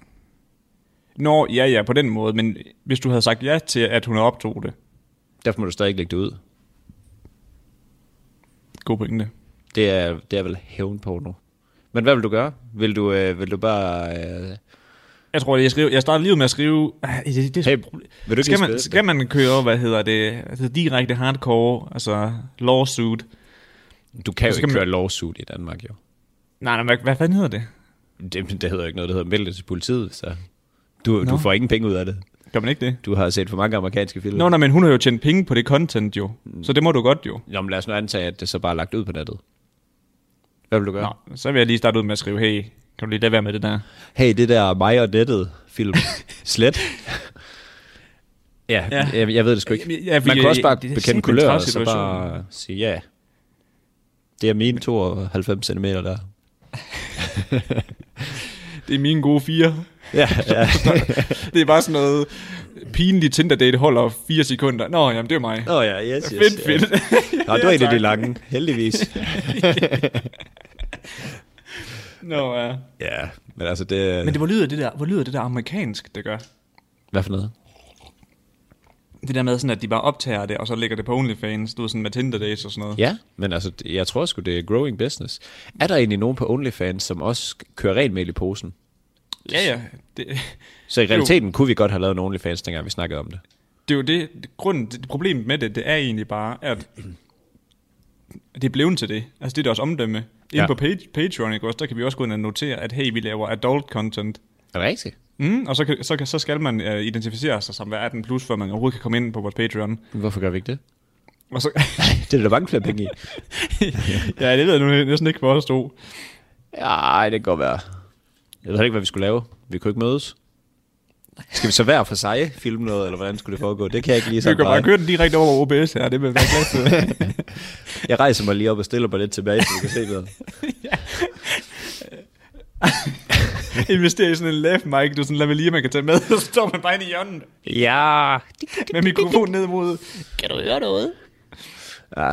[SPEAKER 2] Nå, ja, ja, på den måde. Men hvis du havde sagt ja til, at hun optog det.
[SPEAKER 3] Derfor må du stadig ikke lægge det ud.
[SPEAKER 2] God pointe.
[SPEAKER 3] Det er, det er vel hævnporno. Men hvad vil du gøre? Vil du, øh, vil du bare... Øh,
[SPEAKER 2] Jeg tror, jeg, skriver, jeg starter lige ud med at skrive... Ej, Det, det,
[SPEAKER 3] Hey,
[SPEAKER 2] hey,
[SPEAKER 3] vil du ikke
[SPEAKER 2] skal,
[SPEAKER 3] lige spille
[SPEAKER 2] man,
[SPEAKER 3] det?
[SPEAKER 2] skal man køre, hvad hedder det, altså direkte hardcore, altså lawsuit?
[SPEAKER 3] du kan jo
[SPEAKER 2] Så skal
[SPEAKER 3] ikke
[SPEAKER 2] man-
[SPEAKER 3] køre lawsuit i Danmark, jo.
[SPEAKER 2] Nej, nej, hvad, hvad fanden hedder det?
[SPEAKER 3] Det, det hedder ikke noget, det hedder meld det til politiet, så... Du,
[SPEAKER 2] Nå.
[SPEAKER 3] du får ingen penge ud af det.
[SPEAKER 2] Gør man ikke det?
[SPEAKER 3] Du har set for mange amerikanske film.
[SPEAKER 2] Nå, nej, men hun har jo tjent penge på det content jo, så det må du godt jo.
[SPEAKER 3] Nå, men lad os nu antage, at det så bare er lagt ud på nettet. Hvad vil du gøre?
[SPEAKER 2] Nå, så vil jeg lige starte ud med at skrive, hey, kan du lige lade være med det der?
[SPEAKER 3] Hey, det der mig og nettet film. Slet. ja, ja.
[SPEAKER 2] Ja.
[SPEAKER 3] Jeg, jeg ved det sgu ikke.
[SPEAKER 2] Jamen, ja, fordi
[SPEAKER 3] Man kan også
[SPEAKER 2] jeg-
[SPEAKER 3] bare
[SPEAKER 2] det er
[SPEAKER 3] bekende
[SPEAKER 2] simpelthen en
[SPEAKER 3] kulør, og
[SPEAKER 2] træls
[SPEAKER 3] så
[SPEAKER 2] situation.
[SPEAKER 3] bare sige ja. Det er mine 92 cm der.
[SPEAKER 2] Det er mine gode fire.
[SPEAKER 3] Ja, ja.
[SPEAKER 2] Det er bare sådan noget pinligt Tinder-date holder fire sekunder. Nå, jamen det er mig.
[SPEAKER 3] Nå ja, yes, yes.
[SPEAKER 2] Fedt,
[SPEAKER 3] ja.
[SPEAKER 2] fedt.
[SPEAKER 3] Nå, det var
[SPEAKER 2] Ja,
[SPEAKER 3] en af de
[SPEAKER 2] tak.
[SPEAKER 3] lange, heldigvis.
[SPEAKER 2] Nå, ja.
[SPEAKER 3] ja, men altså det...
[SPEAKER 2] Men det, hvor, lyder det der, hvor lyder det der amerikansk, det gør?
[SPEAKER 3] Hvad for noget?
[SPEAKER 2] Det der med, sådan, at de bare optager det, og så lægger det på OnlyFans, du ved, sådan med Tinder dates og sådan noget.
[SPEAKER 3] Ja, men altså, det- jeg tror sgu, det er growing business. Er der egentlig nogen på OnlyFans, som også kører rent mel i posen?
[SPEAKER 2] Ja, ja. Det,
[SPEAKER 3] Så i realiteten kunne vi godt have lavet en OnlyFans, dengang vi snakkede om det.
[SPEAKER 2] det er jo det, det, grunden, det, problemet med det, det er egentlig bare, at det er blevet til det. Altså det er deres omdømme. Inde
[SPEAKER 3] Ja.
[SPEAKER 2] ja. på page, Patreon, ikke også, der kan vi også gå ind og notere, at hey, vi laver adult content.
[SPEAKER 3] Er det rigtigt?
[SPEAKER 2] Mm, og så, kan, så, kan, så skal man uh, identificere sig som hver 18 plus, før man overhovedet kan komme ind på vores Patreon.
[SPEAKER 3] Hvorfor gør vi ikke det?
[SPEAKER 2] Og så,
[SPEAKER 3] Det er der mange flere penge i.
[SPEAKER 2] ja, det ved jeg nu næsten ikke, hvor der stod.
[SPEAKER 3] Ej, det kan godt være. Jeg ved ikke, hvad vi skulle lave. Vi kunne ikke mødes. Skal vi så hver for sig filme noget, eller hvordan skulle det foregå? Det kan jeg ikke lige
[SPEAKER 2] Vi
[SPEAKER 3] så
[SPEAKER 2] kan bare
[SPEAKER 3] meget.
[SPEAKER 2] køre den direkte over OBS her, det vil jeg være glad for.
[SPEAKER 3] Jeg rejser mig lige op og stiller mig lidt tilbage, så vi kan se noget.
[SPEAKER 2] Investere i sådan en lav mic, du sådan lavalier, man kan tage med, så står man bare inde i hjørnet
[SPEAKER 3] Ja,
[SPEAKER 2] med mikrofonen ned mod...
[SPEAKER 5] Kan du høre noget?
[SPEAKER 3] ja
[SPEAKER 2] Ej,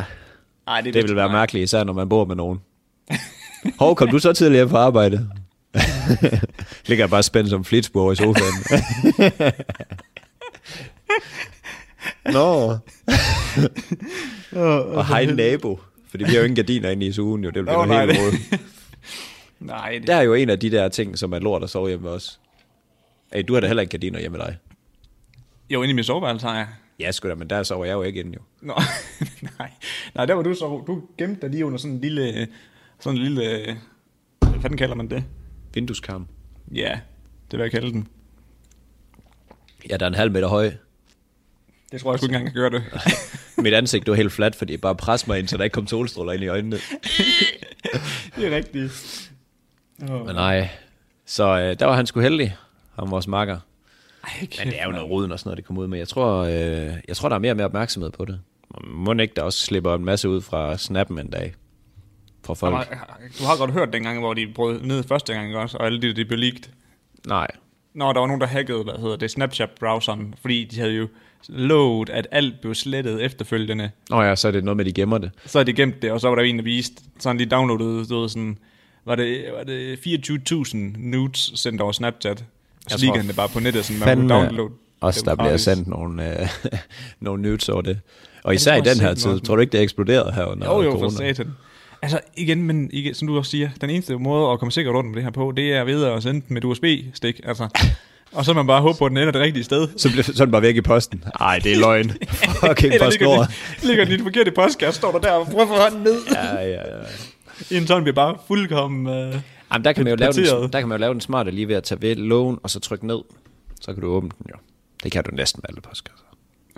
[SPEAKER 2] det, er
[SPEAKER 3] det
[SPEAKER 2] lidt-
[SPEAKER 3] vil være mærkeligt, især når man bor med nogen. Hov, kom du så tidligere hjem fra arbejde? Ligger jeg bare spændt som flitsbord i sofaen. Nå. og hej nabo. Fordi vi har jo ingen gardiner inde i sugen, jo. Det bliver
[SPEAKER 2] altså, Nå, nej,
[SPEAKER 3] oh, helt
[SPEAKER 2] det-
[SPEAKER 3] rodet.
[SPEAKER 2] Nej, det,
[SPEAKER 3] Der er jo en af de der ting, som er lort at sove hjemme også. Hey, du har da heller ikke gardiner hjemme med dig.
[SPEAKER 2] jo, inde i min soveværelse har jeg.
[SPEAKER 3] Ja, sgu da, men der sover jeg jo ikke inde, jo.
[SPEAKER 2] Nå, nej. Nej, der var du så... Du gemte dig lige under sådan en lille... øh, Sådan en lille... øh, Hvad fanden kalder man det?
[SPEAKER 3] Vindueskarm.
[SPEAKER 2] Ja, det vil jeg kalde den.
[SPEAKER 3] Ja, der er en halv meter høj.
[SPEAKER 2] Det tror jeg sgu ikke engang kan gøre det.
[SPEAKER 3] Mit ansigt var helt fladt, fordi jeg bare pressede mig ind, så der ikke kom solstråler ind i øjnene.
[SPEAKER 2] det er rigtigt. Oh.
[SPEAKER 3] Men nej. Så øh, der var han sgu heldig, ham vores makker.
[SPEAKER 2] Ej, kæft,
[SPEAKER 3] Men det er jo noget roden og sådan noget, det kommer ud med. Jeg tror, øh, jeg tror der er mere og mere opmærksomhed på det. Må ikke, der også slipper en masse ud fra snappen en dag. Fra folk.
[SPEAKER 2] Jamen, Du har godt hørt dengang, hvor de brød ned første gang, ikke også? Og alle de, de blev leaked.
[SPEAKER 3] Nej.
[SPEAKER 2] Nå, der var nogen, der hackede, hvad hedder det, Snapchat-browseren, fordi de havde jo lovet, at alt blev slettet efterfølgende.
[SPEAKER 3] Nå ja, så er det noget med, de gemmer det.
[SPEAKER 2] Så havde de gemt det, og så var der en, der viste, så han lige downloadede, stod sådan, var det, var det 24.000 nudes sendt over Snapchat. Så
[SPEAKER 3] Jeg
[SPEAKER 2] ligger
[SPEAKER 3] tror
[SPEAKER 2] han det bare på nettet, sådan, man kunne downloade.
[SPEAKER 3] Fandme også
[SPEAKER 2] dem
[SPEAKER 3] der bliver
[SPEAKER 2] gratis.
[SPEAKER 3] sendt nogle, øh, nogle nudes over det. Og især i
[SPEAKER 2] tror jeg
[SPEAKER 3] den her
[SPEAKER 2] sent
[SPEAKER 3] tid,
[SPEAKER 2] nok.
[SPEAKER 3] tror du ikke, det er eksploderet her under
[SPEAKER 2] Jo, jo, for
[SPEAKER 3] corona?
[SPEAKER 2] satan. Altså igen, men igen, som du også siger, den eneste måde at komme sikkert rundt med det her på, det er ved at sende den med et USB-stik, altså. Og så man bare håber på, at den ender det rigtige sted.
[SPEAKER 3] Så bliver sådan bare væk i posten. Nej, det er løgn. Fucking
[SPEAKER 2] Eller ligger
[SPEAKER 3] postnord.
[SPEAKER 2] den, ligger den i den forkerte postkasse, står der der og prøver at få hånden ned.
[SPEAKER 3] Ja, ja, ja.
[SPEAKER 2] En sådan bliver bare fuldkommen... Øh,
[SPEAKER 3] Jamen, der kan, man jo lave den,
[SPEAKER 2] Parteret.
[SPEAKER 3] der kan man jo lave den smarte lige ved at tage ved lågen, og så trykke ned. Så kan du åbne den jo. Det kan du næsten med alle altså. postkasser.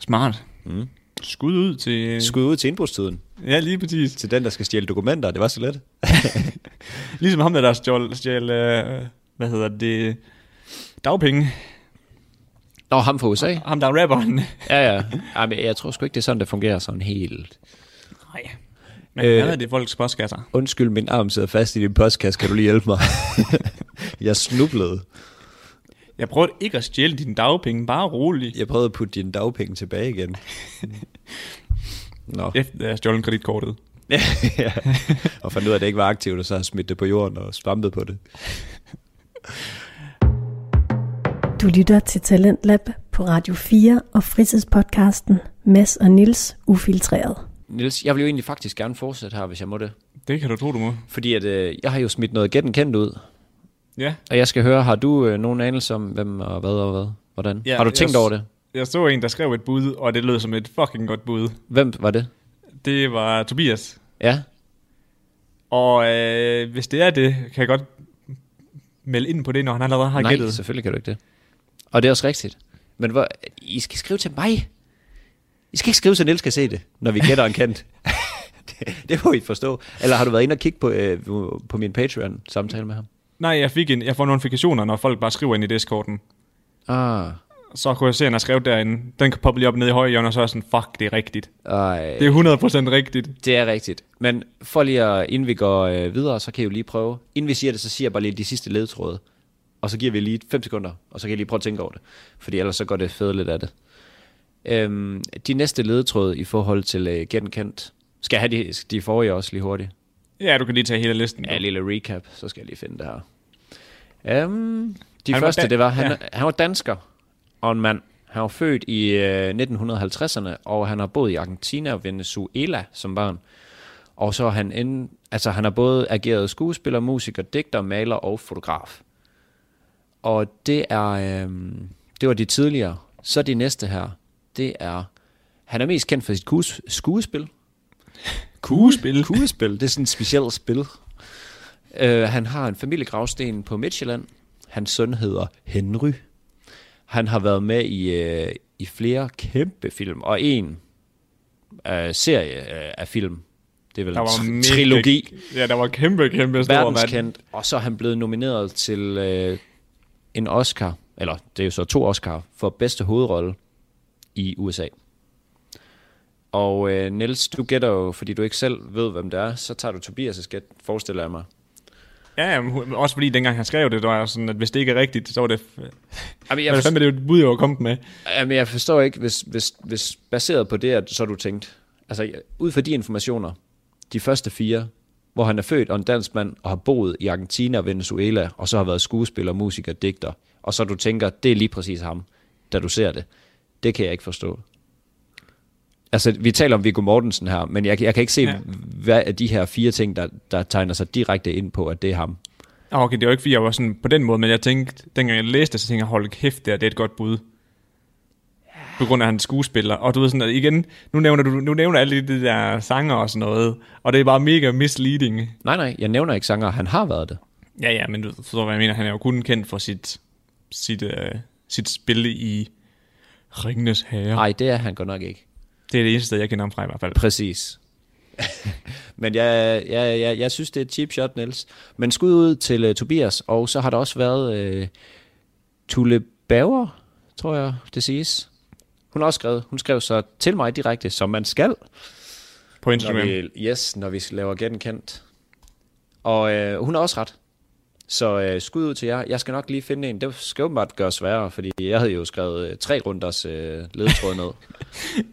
[SPEAKER 2] smart. Mm. Skud ud til...
[SPEAKER 3] Skud ud til indbrudstiden.
[SPEAKER 2] Ja, lige præcis.
[SPEAKER 3] Til den, der skal stjæle dokumenter. Det var så let.
[SPEAKER 2] Ligesom ham der, der stjal... stjal øh, hvad hedder det? Dagpenge.
[SPEAKER 3] Nå, ham fra USA?
[SPEAKER 2] Ham der er rapperen.
[SPEAKER 3] Ja, ja. Jamen, jeg tror sgu ikke, det er sådan, det fungerer sådan helt.
[SPEAKER 2] Nej. Men
[SPEAKER 3] Øh.
[SPEAKER 2] øh, hvad er det folks postkasser?
[SPEAKER 3] Undskyld, min arm sidder fast i din postkasse. Kan du lige hjælpe mig? jeg snublede.
[SPEAKER 2] Jeg prøvede ikke at stjæle dine dagpenge, bare rolig.
[SPEAKER 3] Jeg prøvede at putte dine dagpenge tilbage igen. Nå,
[SPEAKER 2] Efter at jeg stjal kreditkortet.
[SPEAKER 3] ja. Og fandt ud af, at det ikke var aktivt, og så har smidt det på jorden og svampet på det.
[SPEAKER 1] Du lytter til Talentlab på Radio 4 og fritidspodcasten Mads og Nils Ufiltreret.
[SPEAKER 3] Niels, jeg vil jo egentlig faktisk gerne fortsætte her, hvis jeg må det.
[SPEAKER 2] Det kan du tro, du må.
[SPEAKER 3] Fordi at, øh, jeg har jo smidt noget gætten kendt ud.
[SPEAKER 2] Ja.
[SPEAKER 3] Og jeg skal høre, har du øh, nogen anelse om, hvem og hvad og hvad? Hvordan?
[SPEAKER 2] Ja,
[SPEAKER 3] har du
[SPEAKER 2] jeg
[SPEAKER 3] tænkt
[SPEAKER 2] s-
[SPEAKER 3] over det?
[SPEAKER 2] Jeg så en, der skrev et bud, og det lød som et fucking godt bud.
[SPEAKER 3] Hvem var det?
[SPEAKER 2] Det var Tobias.
[SPEAKER 3] Ja.
[SPEAKER 2] Og øh, hvis det er det, kan jeg godt melde ind på det, når han allerede har
[SPEAKER 3] Nej,
[SPEAKER 2] gættet.
[SPEAKER 3] selvfølgelig kan du ikke det. Og det er også rigtigt. Men hvor, I skal skrive til mig. I skal ikke skrive, så Niels kan se det, når vi gætter en kendt. det, det må I forstå. Eller har du været inde og kigge på, øh, på min Patreon-samtale med ham?
[SPEAKER 2] Nej, jeg, fik en, jeg får notifikationer, når folk bare skriver ind i Discorden.
[SPEAKER 3] Ah,
[SPEAKER 2] Så kunne jeg se, at han har skrevet derinde. Den kan poppe lige op nede i højre hjørne, og så er jeg sådan, fuck, det er rigtigt.
[SPEAKER 3] ej.
[SPEAKER 2] Det er 100% rigtigt.
[SPEAKER 3] Det er rigtigt. Men for lige at, inden vi går øh, videre, så kan I jo lige prøve. Inden vi siger det, så siger jeg bare lige de sidste ledtråde. Og så giver vi lige 5 sekunder, og så kan I lige prøve at tænke over det. Fordi ellers så går det fedt lidt af det. Øhm, de næste ledtråde i forhold til øh, genkendt. Skal jeg have de, de forrige også lige hurtigt?
[SPEAKER 2] Ja, du kan lige tage hele listen.
[SPEAKER 3] Ja, en lille recap, så skal jeg lige finde det her. Øhm, de
[SPEAKER 2] var
[SPEAKER 3] han første,
[SPEAKER 2] dan-
[SPEAKER 3] var det var, han,
[SPEAKER 2] ja.
[SPEAKER 3] ja. han var dansker og en mand. Han var født i øh, 1950'erne, og han har boet i Argentina og Venezuela som barn. Og så er han inden, altså han har både ageret skuespiller, musiker, digter, maler og fotograf. Og det er, øh, det var de tidligere. Så de næste her, det er, han er mest kendt for sit kus, skuespil,
[SPEAKER 2] Kuespil.
[SPEAKER 3] Kuglespil, det er sådan et specielt spil. Uh, han har en familiegravsten på Midtjylland. Hans søn hedder Henry. Han har været med i, uh, i flere kæmpe film, og en uh, serie uh, af film. Det er vel
[SPEAKER 2] Der
[SPEAKER 3] en
[SPEAKER 2] var
[SPEAKER 3] tri-
[SPEAKER 2] mega-
[SPEAKER 3] trilogi,
[SPEAKER 2] Ja, der var kæmpe, kæmpe stor mand.
[SPEAKER 3] verdenskendt. Og så er han blevet nomineret til uh, en Oscar, eller det er jo så to Oscar, for bedste hovedrolle i USA. Og øh, Niels, du gætter jo, fordi du ikke selv ved, hvem det er, så tager du Tobias' gæt, forestiller jeg mig.
[SPEAKER 2] Ja, ja, men hun- også fordi dengang han skrev det, der var jeg sådan, at hvis det ikke er rigtigt, så var det... f-
[SPEAKER 3] Jamen,
[SPEAKER 2] Hvad
[SPEAKER 3] jeg,
[SPEAKER 2] fanden
[SPEAKER 3] forstår,
[SPEAKER 2] er det jo et bud, jeg var kommet med?
[SPEAKER 3] jamen, jeg forstår ikke, hvis, hvis, hvis baseret på det, at så har du tænkt, altså jeg- ud fra de informationer, de første fire, hvor han er født og en dansk mand, og har boet i Argentina og Venezuela, og så har været skuespiller, musiker, digter, og så du tænker, det er lige præcis ham, da du ser det. Det kan jeg ikke forstå. Altså, vi taler om Viggo Mortensen her, men jeg, jeg kan ikke se,
[SPEAKER 2] Ja.
[SPEAKER 3] ja. hvad er de her fire ting, der, der tegner sig direkte ind på, at det er ham.
[SPEAKER 2] Ah, Okay, det var ikke, fordi jeg var sådan på den måde, men jeg tænkte, dengang jeg læste det, så tænkte jeg, hold kæft, det, her, det er et godt bud. På grund af hans skuespiller. Og du ved sådan, at igen, nu nævner du nu nævner alle de der sanger og sådan noget, og det er bare mega misleading.
[SPEAKER 3] Nej, nej, jeg nævner ikke sanger, han har været det.
[SPEAKER 2] Ja, ja, men du forstår, hvad jeg mener. Han er jo kun kendt for sit, sit, øh, sit spil i Ringenes Herre.
[SPEAKER 3] Nej, det er han godt nok ikke.
[SPEAKER 2] Det er det eneste sted, jeg kender ham fra i hvert fald.
[SPEAKER 3] Præcis. Men jeg, jeg, jeg, jeg synes, det er et cheap shot, Niels. Men skud ud til uh, Tobias, og så har der også været uh, Tulle Bauer, tror jeg, det siges. Hun har også skrevet, hun skrev så til mig direkte, som man skal,
[SPEAKER 2] På
[SPEAKER 3] når
[SPEAKER 2] Instagram.
[SPEAKER 3] vi, yes, når vi laver genkendt. Og øh, hun har også ret. Så øh, skud ud til jer. Jeg skal nok lige finde en. Det skal åbenbart gøre sværere, fordi jeg havde jo skrevet øh, tre runders øh, ledtråd ned.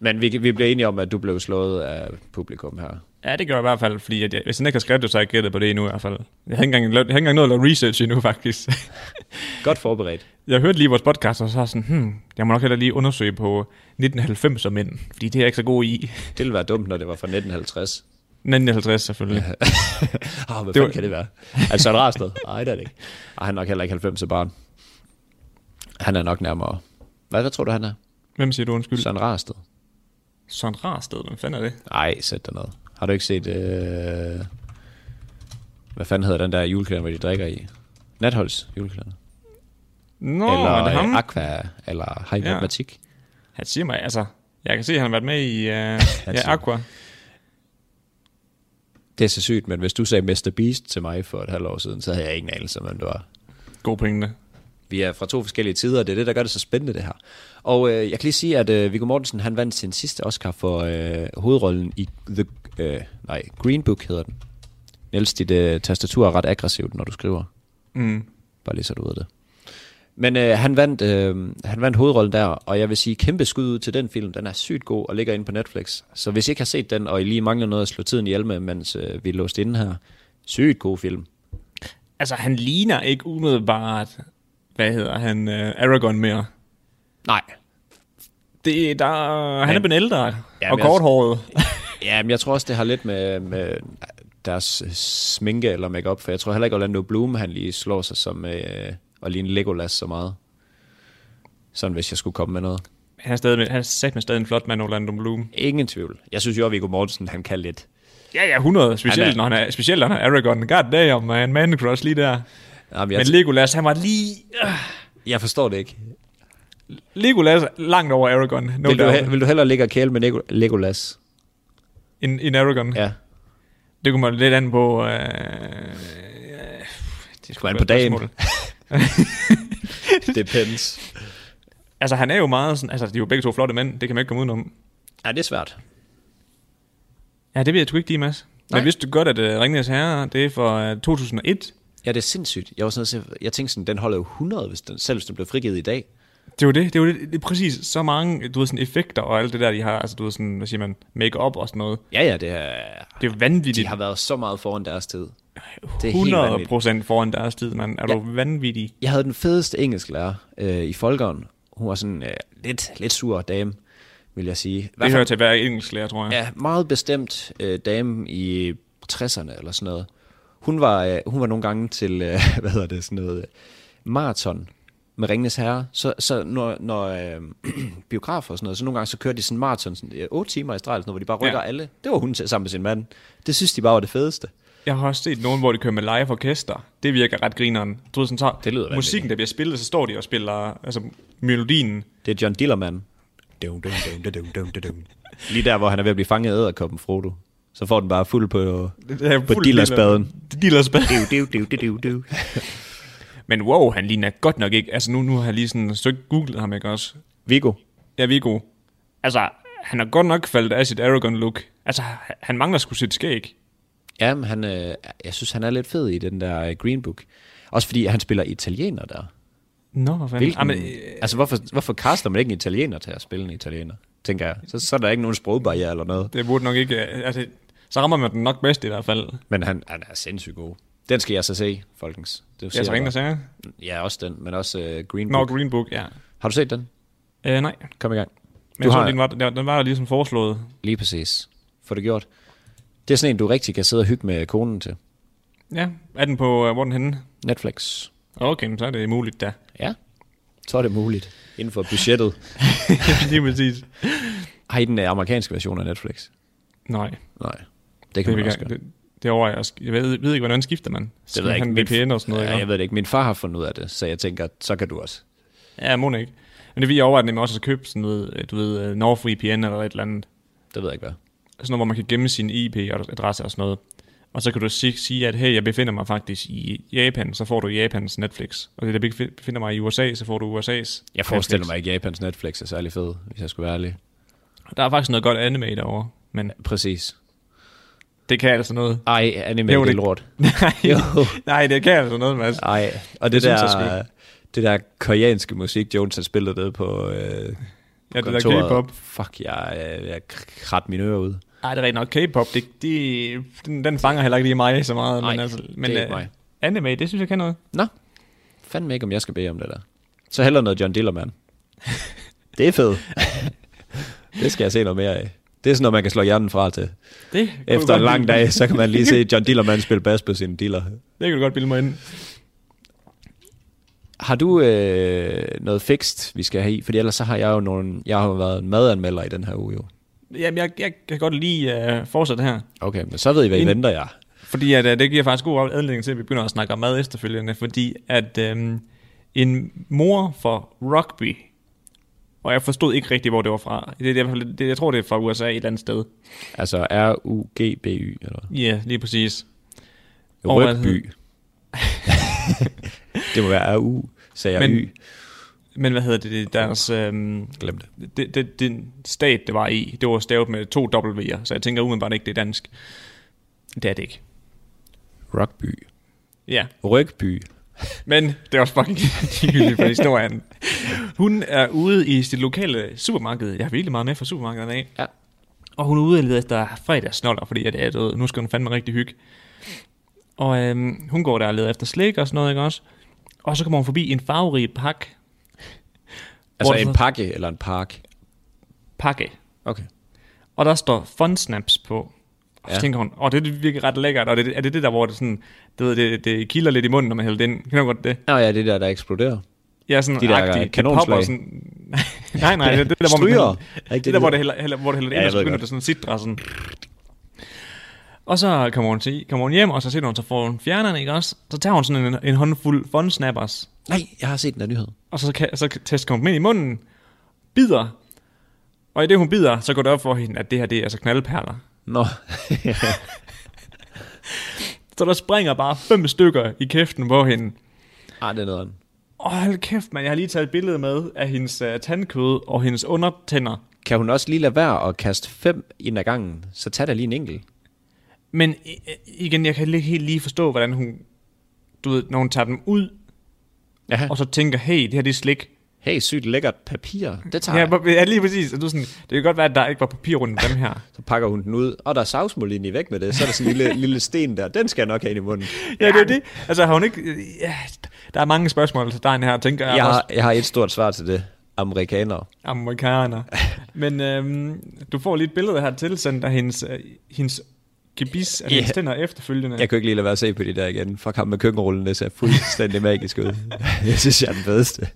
[SPEAKER 3] Men vi, vi blev enige om, at du blev slået af publikum her.
[SPEAKER 2] Ja, det gør jeg i hvert fald, fordi at jeg, hvis han ikke har skrevet det, så har jeg ikke gættet på det endnu i hvert fald. Jeg har ikke engang, lavet, jeg har ikke engang nået at lave research endnu, faktisk.
[SPEAKER 3] Godt forberedt.
[SPEAKER 2] Jeg hørte lige vores podcast, og så er jeg sådan, hmm, jeg må nok heller lige undersøge på 1990'er mænd, fordi det er jeg ikke så god i.
[SPEAKER 3] Det ville være dumt, når det var fra 1950.
[SPEAKER 2] 1950 selvfølgelig.
[SPEAKER 3] Åh, oh,
[SPEAKER 2] Det
[SPEAKER 3] hvad det
[SPEAKER 2] var-
[SPEAKER 3] var... kan det være? Altså, et rart sted? Nej, det er det ikke. Ej, han er nok heller ikke 90 barn. Han er nok nærmere... Hvad, hvad tror du, han er?
[SPEAKER 2] Hvem siger du undskyld? Så.
[SPEAKER 3] Søren Rarsted?
[SPEAKER 2] Sådan rar sted, hvem fanden er det?
[SPEAKER 3] Nej, sæt dig ned. Har du ikke set... Øh... Hvad fanden hedder den der julekalender, hvor de drikker i? Natholds julekalender.
[SPEAKER 2] Nå, Eller, er
[SPEAKER 3] eller
[SPEAKER 2] det ham?
[SPEAKER 3] øh, Aqua, eller High
[SPEAKER 2] Ja.
[SPEAKER 3] ja. Matematik.
[SPEAKER 2] han siger mig, altså, jeg kan se, at han har været med i uh, ja,
[SPEAKER 3] siger-
[SPEAKER 2] Aqua.
[SPEAKER 3] Det er så sygt, men hvis du sagde Mr. Beast til mig for et halvt år siden, så havde jeg ingen anelse om, hvem det var.
[SPEAKER 2] God pointe.
[SPEAKER 3] Vi er fra to forskellige tider, og det er det, der gør det så spændende, det her. Og øh, jeg kan lige sige, at øh, Viggo Mortensen, han vandt sin sidste Oscar for øh, hovedrollen i The... Øh, nej, Green Book hedder den. Niels, dit øh, tastatur er ret aggressivt, når du skriver.
[SPEAKER 2] Mm.
[SPEAKER 3] Bare lige så du ved det. Men øh, han, vandt, øh, han vandt hovedrollen der, og jeg vil sige kæmpe skud ud til den film. Den er sygt god og ligger inde på Netflix. Så hvis I ikke har set den, og I lige mangler noget at slå tiden ihjel med, mens øh, vi er låst inde her, sygt god film.
[SPEAKER 2] Altså, han ligner ikke umiddelbart, hvad hedder han, øh, Aragorn mere.
[SPEAKER 3] Nej.
[SPEAKER 2] Det, der, han er
[SPEAKER 3] Men-
[SPEAKER 2] blevet ældre
[SPEAKER 3] Ja,
[SPEAKER 2] og
[SPEAKER 3] men altså-
[SPEAKER 2] korthåret.
[SPEAKER 3] Ja, men jeg tror også, det har lidt med, med deres sminke eller makeup, for jeg tror heller ikke, Orlando Bloom han lige slår sig som øh, og ligne Legolas så meget. Sådan hvis jeg skulle komme med noget.
[SPEAKER 2] Han er, stadig, han er satme stadig en flot mand, Orlando Bloom.
[SPEAKER 3] Ingen tvivl. Jeg synes jo, at Viggo Mortensen, han kan lidt.
[SPEAKER 2] Ja, ja, 100. Specielt,
[SPEAKER 3] Han
[SPEAKER 2] han
[SPEAKER 3] er-
[SPEAKER 2] når han er, specielt når han er Aragorn. God damn, man. Man crush lige der.
[SPEAKER 3] Jamen,
[SPEAKER 2] Men
[SPEAKER 3] jeg,
[SPEAKER 2] Legolas, han var lige... øh,
[SPEAKER 3] jeg forstår det ikke.
[SPEAKER 2] Legolas er langt over Aragorn. No
[SPEAKER 3] Vil du,
[SPEAKER 2] doubt.
[SPEAKER 3] he- vil du hellere ligge og kæle med Lego- Legolas?
[SPEAKER 2] En, en Aragorn.
[SPEAKER 3] Ja.
[SPEAKER 2] Det kommer lidt an på... Øh, øh, det
[SPEAKER 3] Kommer an på dagen.
[SPEAKER 2] spørgsmål.
[SPEAKER 3] Depends.
[SPEAKER 2] Altså, han er jo meget sådan... Altså, de er jo begge to flotte mænd. Det kan man ikke komme udenom.
[SPEAKER 3] Ja, det er svært.
[SPEAKER 2] Ja, det ved jeg sgu ikke lige, Mads.
[SPEAKER 3] Nej.
[SPEAKER 2] Men vidste du godt, at uh, Ringnes Herre, det er fra uh, 2001?
[SPEAKER 3] Ja, det er sindssygt. Jeg, var sådan, noget- jeg tænkte sådan, den holder jo 100, hvis den, selv hvis den blev frigivet i dag.
[SPEAKER 2] Det var det. Det var det, det er præcis så mange du ved, sådan effekter og alt det der, de har. Altså, du ved, sådan, hvad siger man, make-up og sådan noget.
[SPEAKER 3] Ja, ja, det er,
[SPEAKER 2] Det er jo vanvittigt.
[SPEAKER 3] de har været så meget foran deres tid. Det er helt
[SPEAKER 2] 100
[SPEAKER 3] vanvittigt.
[SPEAKER 2] foran deres tid, mand. Er
[SPEAKER 3] Ja.
[SPEAKER 2] du vanvittig?
[SPEAKER 3] Jeg havde den fedeste engelsklærer øh, i folkeren. Hun var sådan øh, lidt, lidt sur dame, vil jeg sige.
[SPEAKER 2] Det hører
[SPEAKER 3] fald-
[SPEAKER 2] til at være engelsklærer, tror jeg.
[SPEAKER 3] Ja, meget bestemt øh, dame i 60'erne eller sådan noget. Hun var, øh, hun var nogle gange til, øh, hvad hedder det, sådan noget, øh, maraton med Ringenes Herre. Så, så når, når øh, biografer og sådan noget, så nogle gange så kører de sådan en maraton, sådan, øh, 8 timer i streg, eller sådan noget, hvor de bare rykker
[SPEAKER 2] Ja.
[SPEAKER 3] ja. alle. Det var hun til, sammen med sin mand. Det synes de bare var det fedeste.
[SPEAKER 2] Jeg har også set nogen, hvor de kører med live orkester. Det virker ret grineren. Du ved, sådan, så
[SPEAKER 3] Det lyder vanvittigt.
[SPEAKER 2] musikken, der bliver spillet, så står de og spiller altså, melodien.
[SPEAKER 3] Det er John Dillermand.
[SPEAKER 5] Dum, dum, dum, dum, dum, dum, dum, dum.
[SPEAKER 3] Lige der, hvor han er ved at blive fanget af æderkoppen, Frodo. Så får den bare fuld på,
[SPEAKER 2] Det er
[SPEAKER 3] på
[SPEAKER 2] fuld
[SPEAKER 3] dillerspaden.
[SPEAKER 2] diller- Dillerspaden.
[SPEAKER 3] Du, du, du, du, du.
[SPEAKER 2] Men wow, han ligner godt nok ikke. Altså nu, nu har jeg lige sådan søgt googlet ham, ikke også?
[SPEAKER 3] Viggo.
[SPEAKER 2] Ja, Viggo. Altså, han har godt nok faldet af sit Aragorn-look. Altså, han mangler sgu sit skæg.
[SPEAKER 3] Ja, men han, øh, jeg synes, han er lidt fed i den der øh, Green Book. Også fordi han spiller italiener der.
[SPEAKER 2] Nå, hvad fanden?
[SPEAKER 3] Hvilken,
[SPEAKER 2] Jamen,
[SPEAKER 3] Jamen, øh, altså, hvorfor, hvorfor kaster man ikke en italiener til at spille en italiener, tænker jeg. Så, så er der ikke nogen sprogbarriere eller noget.
[SPEAKER 2] det burde nok ikke... Altså, så rammer man den nok bedst i hvert fald.
[SPEAKER 3] Men han, han er sindssygt god. Den skal jeg så se, folkens. Det
[SPEAKER 2] Jeg
[SPEAKER 3] siger
[SPEAKER 2] så ingen, der
[SPEAKER 3] bare.
[SPEAKER 2] sagde.
[SPEAKER 3] Ja, også den, men også øh, Green
[SPEAKER 2] Nå,
[SPEAKER 3] Book.
[SPEAKER 2] Green Book, ja.
[SPEAKER 3] Har du set den?
[SPEAKER 2] Øh, nej,
[SPEAKER 3] Kom i gang.
[SPEAKER 2] men jeg
[SPEAKER 3] har-
[SPEAKER 2] så, den var, den var der ligesom foreslået.
[SPEAKER 3] Lige præcis. Få det gjort. Det er sådan en, du rigtig kan sidde og hygge med konen til.
[SPEAKER 2] Ja, er den på, uh, hvor er den henne?
[SPEAKER 3] Netflix.
[SPEAKER 2] Okay, men så er det muligt da.
[SPEAKER 3] Ja. Så er det muligt. Inden for budgettet.
[SPEAKER 2] Lige præcis.
[SPEAKER 3] Har I den øh, amerikanske version af Netflix?
[SPEAKER 2] Nej,
[SPEAKER 3] Nej. Det kan
[SPEAKER 2] det,
[SPEAKER 3] man
[SPEAKER 2] vil
[SPEAKER 3] også
[SPEAKER 2] jeg,
[SPEAKER 3] gøre.
[SPEAKER 2] det, det overvejer jeg også. Jeg ved, ved ikke, hvordan skifter man.
[SPEAKER 3] Det ved jeg ikke.
[SPEAKER 2] Han VPN og sådan noget.
[SPEAKER 3] ja, jeg
[SPEAKER 2] ikke?
[SPEAKER 3] ved det ikke. Min far har fundet ud af det, så jeg tænker, så kan du også.
[SPEAKER 2] ja må ikke. Men det vil jeg overvejer nemlig også at købe sådan noget, du ved, uh, NordVPN eller et eller andet.
[SPEAKER 3] Det ved jeg ikke, hvad.
[SPEAKER 2] Sådan noget, hvor man kan gemme sin IP-adresse og sådan noget. Og så kan du sige, sige, at hey, jeg befinder mig faktisk i Japan, så får du Japans Netflix. Og det, der befi- befinder mig i USA, så får du USA's
[SPEAKER 3] Jeg forestiller mig ikke, at Japans Netflix er særlig fed, hvis jeg skulle være ærlig.
[SPEAKER 2] Der er faktisk noget godt anime derovre, men
[SPEAKER 3] Præcis.
[SPEAKER 2] det kan altså noget.
[SPEAKER 3] Ej, anime
[SPEAKER 2] Jo,
[SPEAKER 3] jo, det er
[SPEAKER 2] det-
[SPEAKER 3] lort.
[SPEAKER 2] Nej,
[SPEAKER 3] Jo.
[SPEAKER 2] nej det kan altså noget, Mads.
[SPEAKER 3] Ej, og det,
[SPEAKER 2] Det
[SPEAKER 3] det
[SPEAKER 2] synes jeg
[SPEAKER 3] der... Det der koreanske musik, Jones han spillede nede på øh,
[SPEAKER 2] Ja, det der
[SPEAKER 3] kontoret.
[SPEAKER 2] K-pop.
[SPEAKER 3] Fuck, jeg, øh, jeg krat mine ører ud.
[SPEAKER 2] Nej, det er rigtig nok. K-pop, det, det, den, den fanger heller ikke lige mig så meget.
[SPEAKER 3] Nej,
[SPEAKER 2] men altså, men,
[SPEAKER 3] det er ikke
[SPEAKER 2] øh,
[SPEAKER 3] mig.
[SPEAKER 2] Anime, det synes jeg kan noget.
[SPEAKER 3] Nå, fandme ikke, om jeg skal bede om det der. Så heller noget John Dillermand. det er fedt. det skal jeg se noget mere af. Det er sådan noget, man kan slå hjernen fra til.
[SPEAKER 2] Det kunne du
[SPEAKER 3] Efter
[SPEAKER 2] godt
[SPEAKER 3] en lang
[SPEAKER 2] bilde-
[SPEAKER 3] dag, så kan man lige se John Dillermand spille bas på sine diller.
[SPEAKER 2] Det kan du godt bilde mig ind.
[SPEAKER 3] Har du øh, noget fikst, vi skal have i? Fordi ellers så har jeg jo nogle, jeg har jo været en madanmelder i den her uge jo.
[SPEAKER 2] Jamen, jeg, jeg kan godt lige uh, fortsætte her.
[SPEAKER 3] Okay, men så ved I, hvad I
[SPEAKER 2] En-
[SPEAKER 3] venter jer.
[SPEAKER 2] Fordi at, øh, det giver faktisk god anledning til, at vi begynder at snakke om mad efterfølgende, fordi at øhm, en mor for rugby, og jeg forstod ikke rigtigt, hvor det var fra. Det, er i hvert fald- det, jeg tror, det er fra USA et eller andet sted.
[SPEAKER 3] Altså R-U-G-B-Y, eller
[SPEAKER 2] Ja, yeah, lige præcis. Og hvad
[SPEAKER 3] Rygby. det må være R-U, sagde jeg
[SPEAKER 2] Men-
[SPEAKER 3] Y.
[SPEAKER 2] Men hvad hedder det, det er deres... Øhm,
[SPEAKER 3] Glem det.
[SPEAKER 2] det, det, den stat, det var i, det var stavet med to W'er, så jeg tænker umiddelbart ikke, det er dansk. Det er det ikke.
[SPEAKER 3] Rugby.
[SPEAKER 2] Ja,
[SPEAKER 3] Rygby.
[SPEAKER 2] Men det er også fucking ligegyldigt for historien. Hun er ude i sit lokale supermarked. Jeg har virkelig meget med fra supermarkederne af.
[SPEAKER 3] Ja.
[SPEAKER 2] Og hun er ude og leder efter fredagsnoller, fordi at, ja, du ved, nu skal hun fandme rigtig hygge. Og øhm, hun går der og leder efter slik og sådan noget, ikke også? Og så kommer hun forbi en farverig pak,
[SPEAKER 3] Altså
[SPEAKER 2] Hvor er det
[SPEAKER 3] en
[SPEAKER 2] så?
[SPEAKER 3] pakke eller en park.
[SPEAKER 2] pakke.
[SPEAKER 3] Okay.
[SPEAKER 2] Og der står fun snaps på. Og så
[SPEAKER 3] Ja.
[SPEAKER 2] ja. tænker hun, åh, det virker ret lækkert. Og det, er det det der, hvor det, sådan, du ved, det, det kilder lidt i munden, når man hælder det ind? Kan du godt det?
[SPEAKER 3] Nå ja, det der, der eksploderer.
[SPEAKER 2] Ja, sådan
[SPEAKER 3] De der
[SPEAKER 2] agtig. Det
[SPEAKER 3] kanonslag.
[SPEAKER 2] popper sådan... nej, nej, det er det der, hvor man
[SPEAKER 3] Stryger.
[SPEAKER 2] hælder-
[SPEAKER 3] Er
[SPEAKER 2] det, det
[SPEAKER 3] ikke det, de
[SPEAKER 2] der, hvor det
[SPEAKER 3] hedder?
[SPEAKER 2] hælder, hælder, hvor det hælder det
[SPEAKER 3] Ja,
[SPEAKER 2] ind,
[SPEAKER 3] jeg
[SPEAKER 2] og så
[SPEAKER 3] ved
[SPEAKER 2] begynder
[SPEAKER 3] godt.
[SPEAKER 2] det sådan at sidre sådan... Og så kommer hun, til, kommer hun hjem, og så sætter hun sig foran fjerneren, ikke også? Så tager hun sådan en, en håndfuld fun snappers,
[SPEAKER 3] Nej, jeg har set den der nyhed.
[SPEAKER 2] og så, kan, så tester hun dem ind i munden, bider, og i det hun bider, så går det op for hende, at det her det er altså knaldperler.
[SPEAKER 3] Nå.
[SPEAKER 2] Så der springer bare fem stykker i kæften på hende.
[SPEAKER 3] Ej, Ah, det er noget andet.
[SPEAKER 2] Åh, hold kæft, man. Jeg har lige taget et billede med af hendes uh, tandkød og hendes undertænder.
[SPEAKER 3] Kan hun også lige lade være at kaste fem ind ad gangen, så tag der lige en enkelt.
[SPEAKER 2] Men i- i- igen, jeg kan ikke helt lige forstå, hvordan hun... Du ved, når hun tager dem ud,
[SPEAKER 3] Ja.
[SPEAKER 2] og så tænker, hey, det her det er slik.
[SPEAKER 3] Hey, sygt lækkert papir. Det tager
[SPEAKER 2] Ja,
[SPEAKER 3] jeg.
[SPEAKER 2] hvor- ja, lige præcis. Og du er sådan, det kan godt være, at der ikke var papir rundt om dem her.
[SPEAKER 3] Så pakker hun den ud, og der er savsmål ind i væk med det. Så er der sådan en lille, lille sten der. Den skal jeg nok have ind i munden.
[SPEAKER 2] ja, det er det. Altså, har hun ikke... Ja, der er mange spørgsmål til dig her, tænker jeg.
[SPEAKER 3] Jeg
[SPEAKER 2] også.
[SPEAKER 3] har, jeg har et stort svar til det. Amerikanere.
[SPEAKER 2] Amerikaner. Men øhm, du får lige et billede her tilsendt af hendes, øh, hendes gebis, altså
[SPEAKER 3] Ja.
[SPEAKER 2] hendes tænder efterfølgende.
[SPEAKER 3] Jeg kunne ikke lige lade være at se på de der igen. Fuck ham med køkkenrullen, det ser fuldstændig magisk ud. Jeg synes, jeg er den bedste.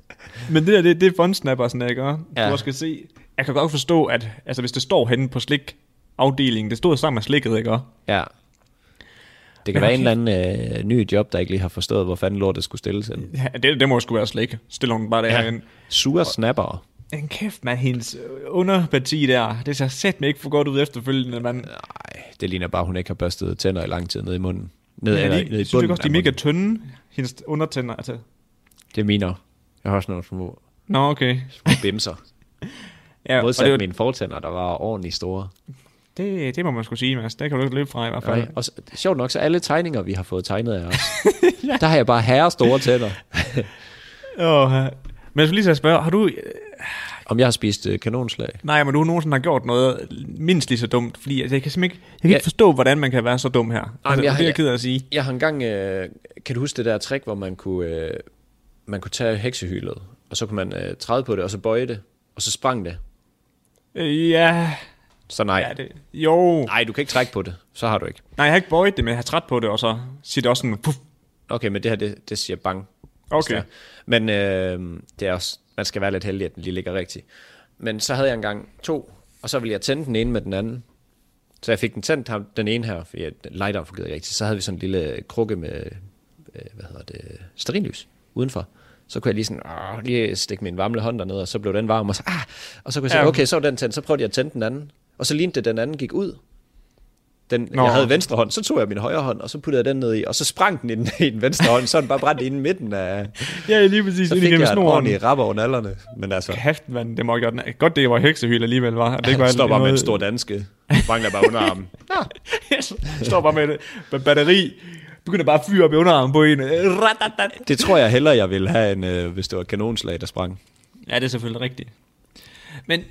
[SPEAKER 2] Men det der, det, det er fundsnapper, sådan jeg gør. Ja.
[SPEAKER 3] Ja.
[SPEAKER 2] Du også kan se. Jeg kan godt forstå, at altså, hvis det står henne på slikafdelingen, det stod sammen med slikket, ikke også?
[SPEAKER 3] Ja. Det
[SPEAKER 2] Men
[SPEAKER 3] kan være en
[SPEAKER 2] okay.
[SPEAKER 3] eller anden øh, ny job, der ikke lige har forstået, hvor fanden lortet skulle stilles ind.
[SPEAKER 2] ja, det, det må jo sgu være slik. Stiller hun bare det ja. her ind.
[SPEAKER 3] Sure snapper.
[SPEAKER 2] En kæft, man, hendes øh, underparti der, det ser sæt mig ikke for godt ud efterfølgende, man.
[SPEAKER 3] Nej, det ligner bare, hun ikke har børstet tænder i lang tid nede i munden. Ned,
[SPEAKER 2] Ja,
[SPEAKER 3] eller,
[SPEAKER 2] de,
[SPEAKER 3] ned i
[SPEAKER 2] synes du
[SPEAKER 3] bunden
[SPEAKER 2] ikke også, de er
[SPEAKER 3] af
[SPEAKER 2] mega
[SPEAKER 3] munden.
[SPEAKER 2] tynde, hendes undertænder? Altså.
[SPEAKER 3] Det er mine. Jeg har også nogle små,
[SPEAKER 2] Nå, okay.
[SPEAKER 3] små bimser.
[SPEAKER 2] Ja, og
[SPEAKER 3] Modsat det
[SPEAKER 2] det,
[SPEAKER 3] var...
[SPEAKER 2] det,
[SPEAKER 3] mine fortænder, der var ordentligt store.
[SPEAKER 2] det, det, må man skulle sige, Mads. Det kan du ikke løbe fra i hvert fald.
[SPEAKER 3] Nej. Og så, sjovt nok, så alle tegninger, vi har fået tegnet af os, ja. der har jeg bare herre store tænder.
[SPEAKER 2] Åh, ja. men jeg skulle lige så spørge, har du... øh,
[SPEAKER 3] Om jeg har spist øh, kanonslag?
[SPEAKER 2] Nej, men du nogensinde har gjort noget mindst lige så dumt, fordi altså, jeg kan simpelthen ikke, jeg kan ja.
[SPEAKER 3] Ja.
[SPEAKER 2] ikke forstå, hvordan man kan være så dum her. Altså,
[SPEAKER 3] men jeg
[SPEAKER 2] jeg,
[SPEAKER 3] har-
[SPEAKER 2] det er jeg
[SPEAKER 3] jeg-
[SPEAKER 2] ked af at sige.
[SPEAKER 3] Jeg har engang, øh, kan du huske det der trick, hvor man kunne, øh, man kunne tage heksehylet, og så kunne man øh, træde på det, og så bøje det, og så sprang det.
[SPEAKER 2] Øh, ja,
[SPEAKER 3] Så nej.
[SPEAKER 2] ja det, jo.
[SPEAKER 3] Nej, du kan ikke trække på det. Så har du ikke.
[SPEAKER 2] Nej, jeg har ikke bøjet det, men jeg har træt på det, og så siger det også sådan, puff.
[SPEAKER 3] Okay, men det her, det, det siger bang.
[SPEAKER 2] Okay.
[SPEAKER 3] Ja. Men øh, det er også, man skal være lidt heldig, at den lige ligger rigtigt. Men så havde jeg engang to, og så ville jeg tænde den ene med den anden. Så jeg fik den tændt, ham- den ene her, for jeg, lighteren fungerede ikke rigtigt. Så havde vi sådan en lille krukke med, øh, hvad hedder det, sterinlys udenfor. Så kunne jeg lige sådan, åh, lige stikke min varme hånd dernede, og så blev den varm, og så, ah! og så kunne jeg sige,
[SPEAKER 2] Ja.
[SPEAKER 3] okay, så var den tændt, så prøvede jeg at tænde den anden. Og så lignede det, den anden gik ud. Den,
[SPEAKER 2] Nå.
[SPEAKER 3] jeg havde venstre hånd, så tog jeg min højre hånd, og så puttede jeg den ned i, og så sprang den i den, i den venstre hånd, så den bare brændt inde i midten af...
[SPEAKER 2] Ja, lige præcis.
[SPEAKER 3] Så fik jeg en ordentlig rap over nallerne, men altså...
[SPEAKER 2] Kæft, mand, det må jeg godt. Godt, det var heksehyl alligevel, var. Og det ikke var
[SPEAKER 3] Det står bare med en
[SPEAKER 2] noget-
[SPEAKER 3] stor danske. Mangler bare underarmen.
[SPEAKER 2] Yes, står bare med, et- med batteri. Begynder bare at fyre op i underarmen på en. Øh, ratatatat.
[SPEAKER 3] Det tror jeg hellere, jeg ville have, end øh, hvis det var et kanonslag, der sprang.
[SPEAKER 2] Ja, det er selvfølgelig rigtigt. Men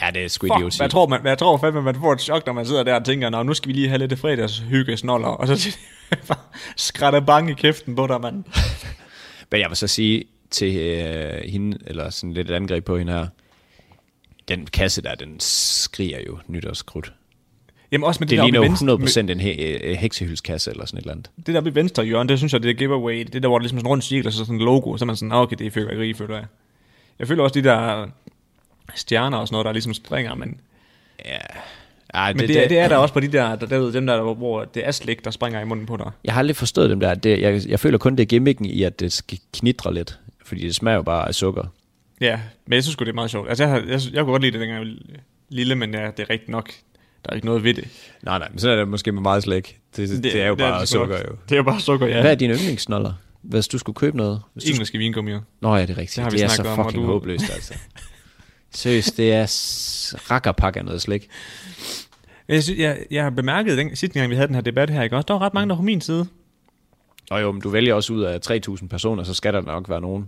[SPEAKER 3] Ja, det er sgu
[SPEAKER 2] Fuck, hvad tror man, hvad jeg tror fandme, man får et chok, når man sidder der og tænker, Nå, nu skal vi lige have lidt fredagshygge snoller, og så skrætter bange i kæften på dig, mand.
[SPEAKER 3] Men jeg vil så sige til øh, hende, eller sådan lidt et angreb på hende her, den kasse der, den skriger jo nytårskrudt.
[SPEAKER 2] Jamen også med det,
[SPEAKER 3] Det
[SPEAKER 2] det der
[SPEAKER 3] ligner
[SPEAKER 2] ligner
[SPEAKER 3] jo
[SPEAKER 2] venstre,
[SPEAKER 3] 100%
[SPEAKER 2] med,
[SPEAKER 3] en he- øh, heksehyldskasse eller sådan et eller andet.
[SPEAKER 2] det der oppe i venstre hjørne, det synes jeg, det er giveaway. Det der, hvor det ligesom er sådan en rund cirkel, og så sådan et logo, så er man sådan, "Nå, okay, det er fyrværkeri, føler jeg. Jeg føler også de der stjerner og sådan noget, der ligesom springer, men, men
[SPEAKER 3] Ej,
[SPEAKER 2] det, det, det, er der også på de der, der, der, ved, dem der, der, hvor det er slik, der springer i munden på dig.
[SPEAKER 3] Jeg har aldrig forstået dem der. Det, jeg, jeg føler kun, det er gimmicken i, at det skal knitre lidt. Fordi det smager jo bare af sukker.
[SPEAKER 2] Ja, men jeg synes sgu, det er meget sjovt. Altså, jeg, har, jeg, synes- jeg kunne godt lide det, dengang jeg var lille, men ja, det er rigtigt nok. Der er ikke noget ved det.
[SPEAKER 3] Nej, nej, men så er det måske med meget slik. Det, det, det er jo bare
[SPEAKER 2] det sgu
[SPEAKER 3] sukker
[SPEAKER 2] nok.
[SPEAKER 3] jo.
[SPEAKER 2] Det er jo bare sukker, ja.
[SPEAKER 3] Hvad er dine yndlingsnoller? Hvis du skulle købe noget? Hvis du...
[SPEAKER 2] Engelske vingummier.
[SPEAKER 3] Nå ja, det er rigtigt.
[SPEAKER 2] Det
[SPEAKER 3] Det,
[SPEAKER 2] har vi
[SPEAKER 3] det er så
[SPEAKER 2] snakket om, og
[SPEAKER 3] fucking
[SPEAKER 2] du-
[SPEAKER 3] du... håbløst, altså. Seriøst, det er s- rakkerpakke af noget slik.
[SPEAKER 2] Jeg, synes, jeg, jeg har bemærket, den, sidste gang vi havde den her debat her, ikke også, der var ret mange, der var på min side.
[SPEAKER 3] Nå jo, men du vælger også ud af 3.000 personer, så skal der nok være nogen.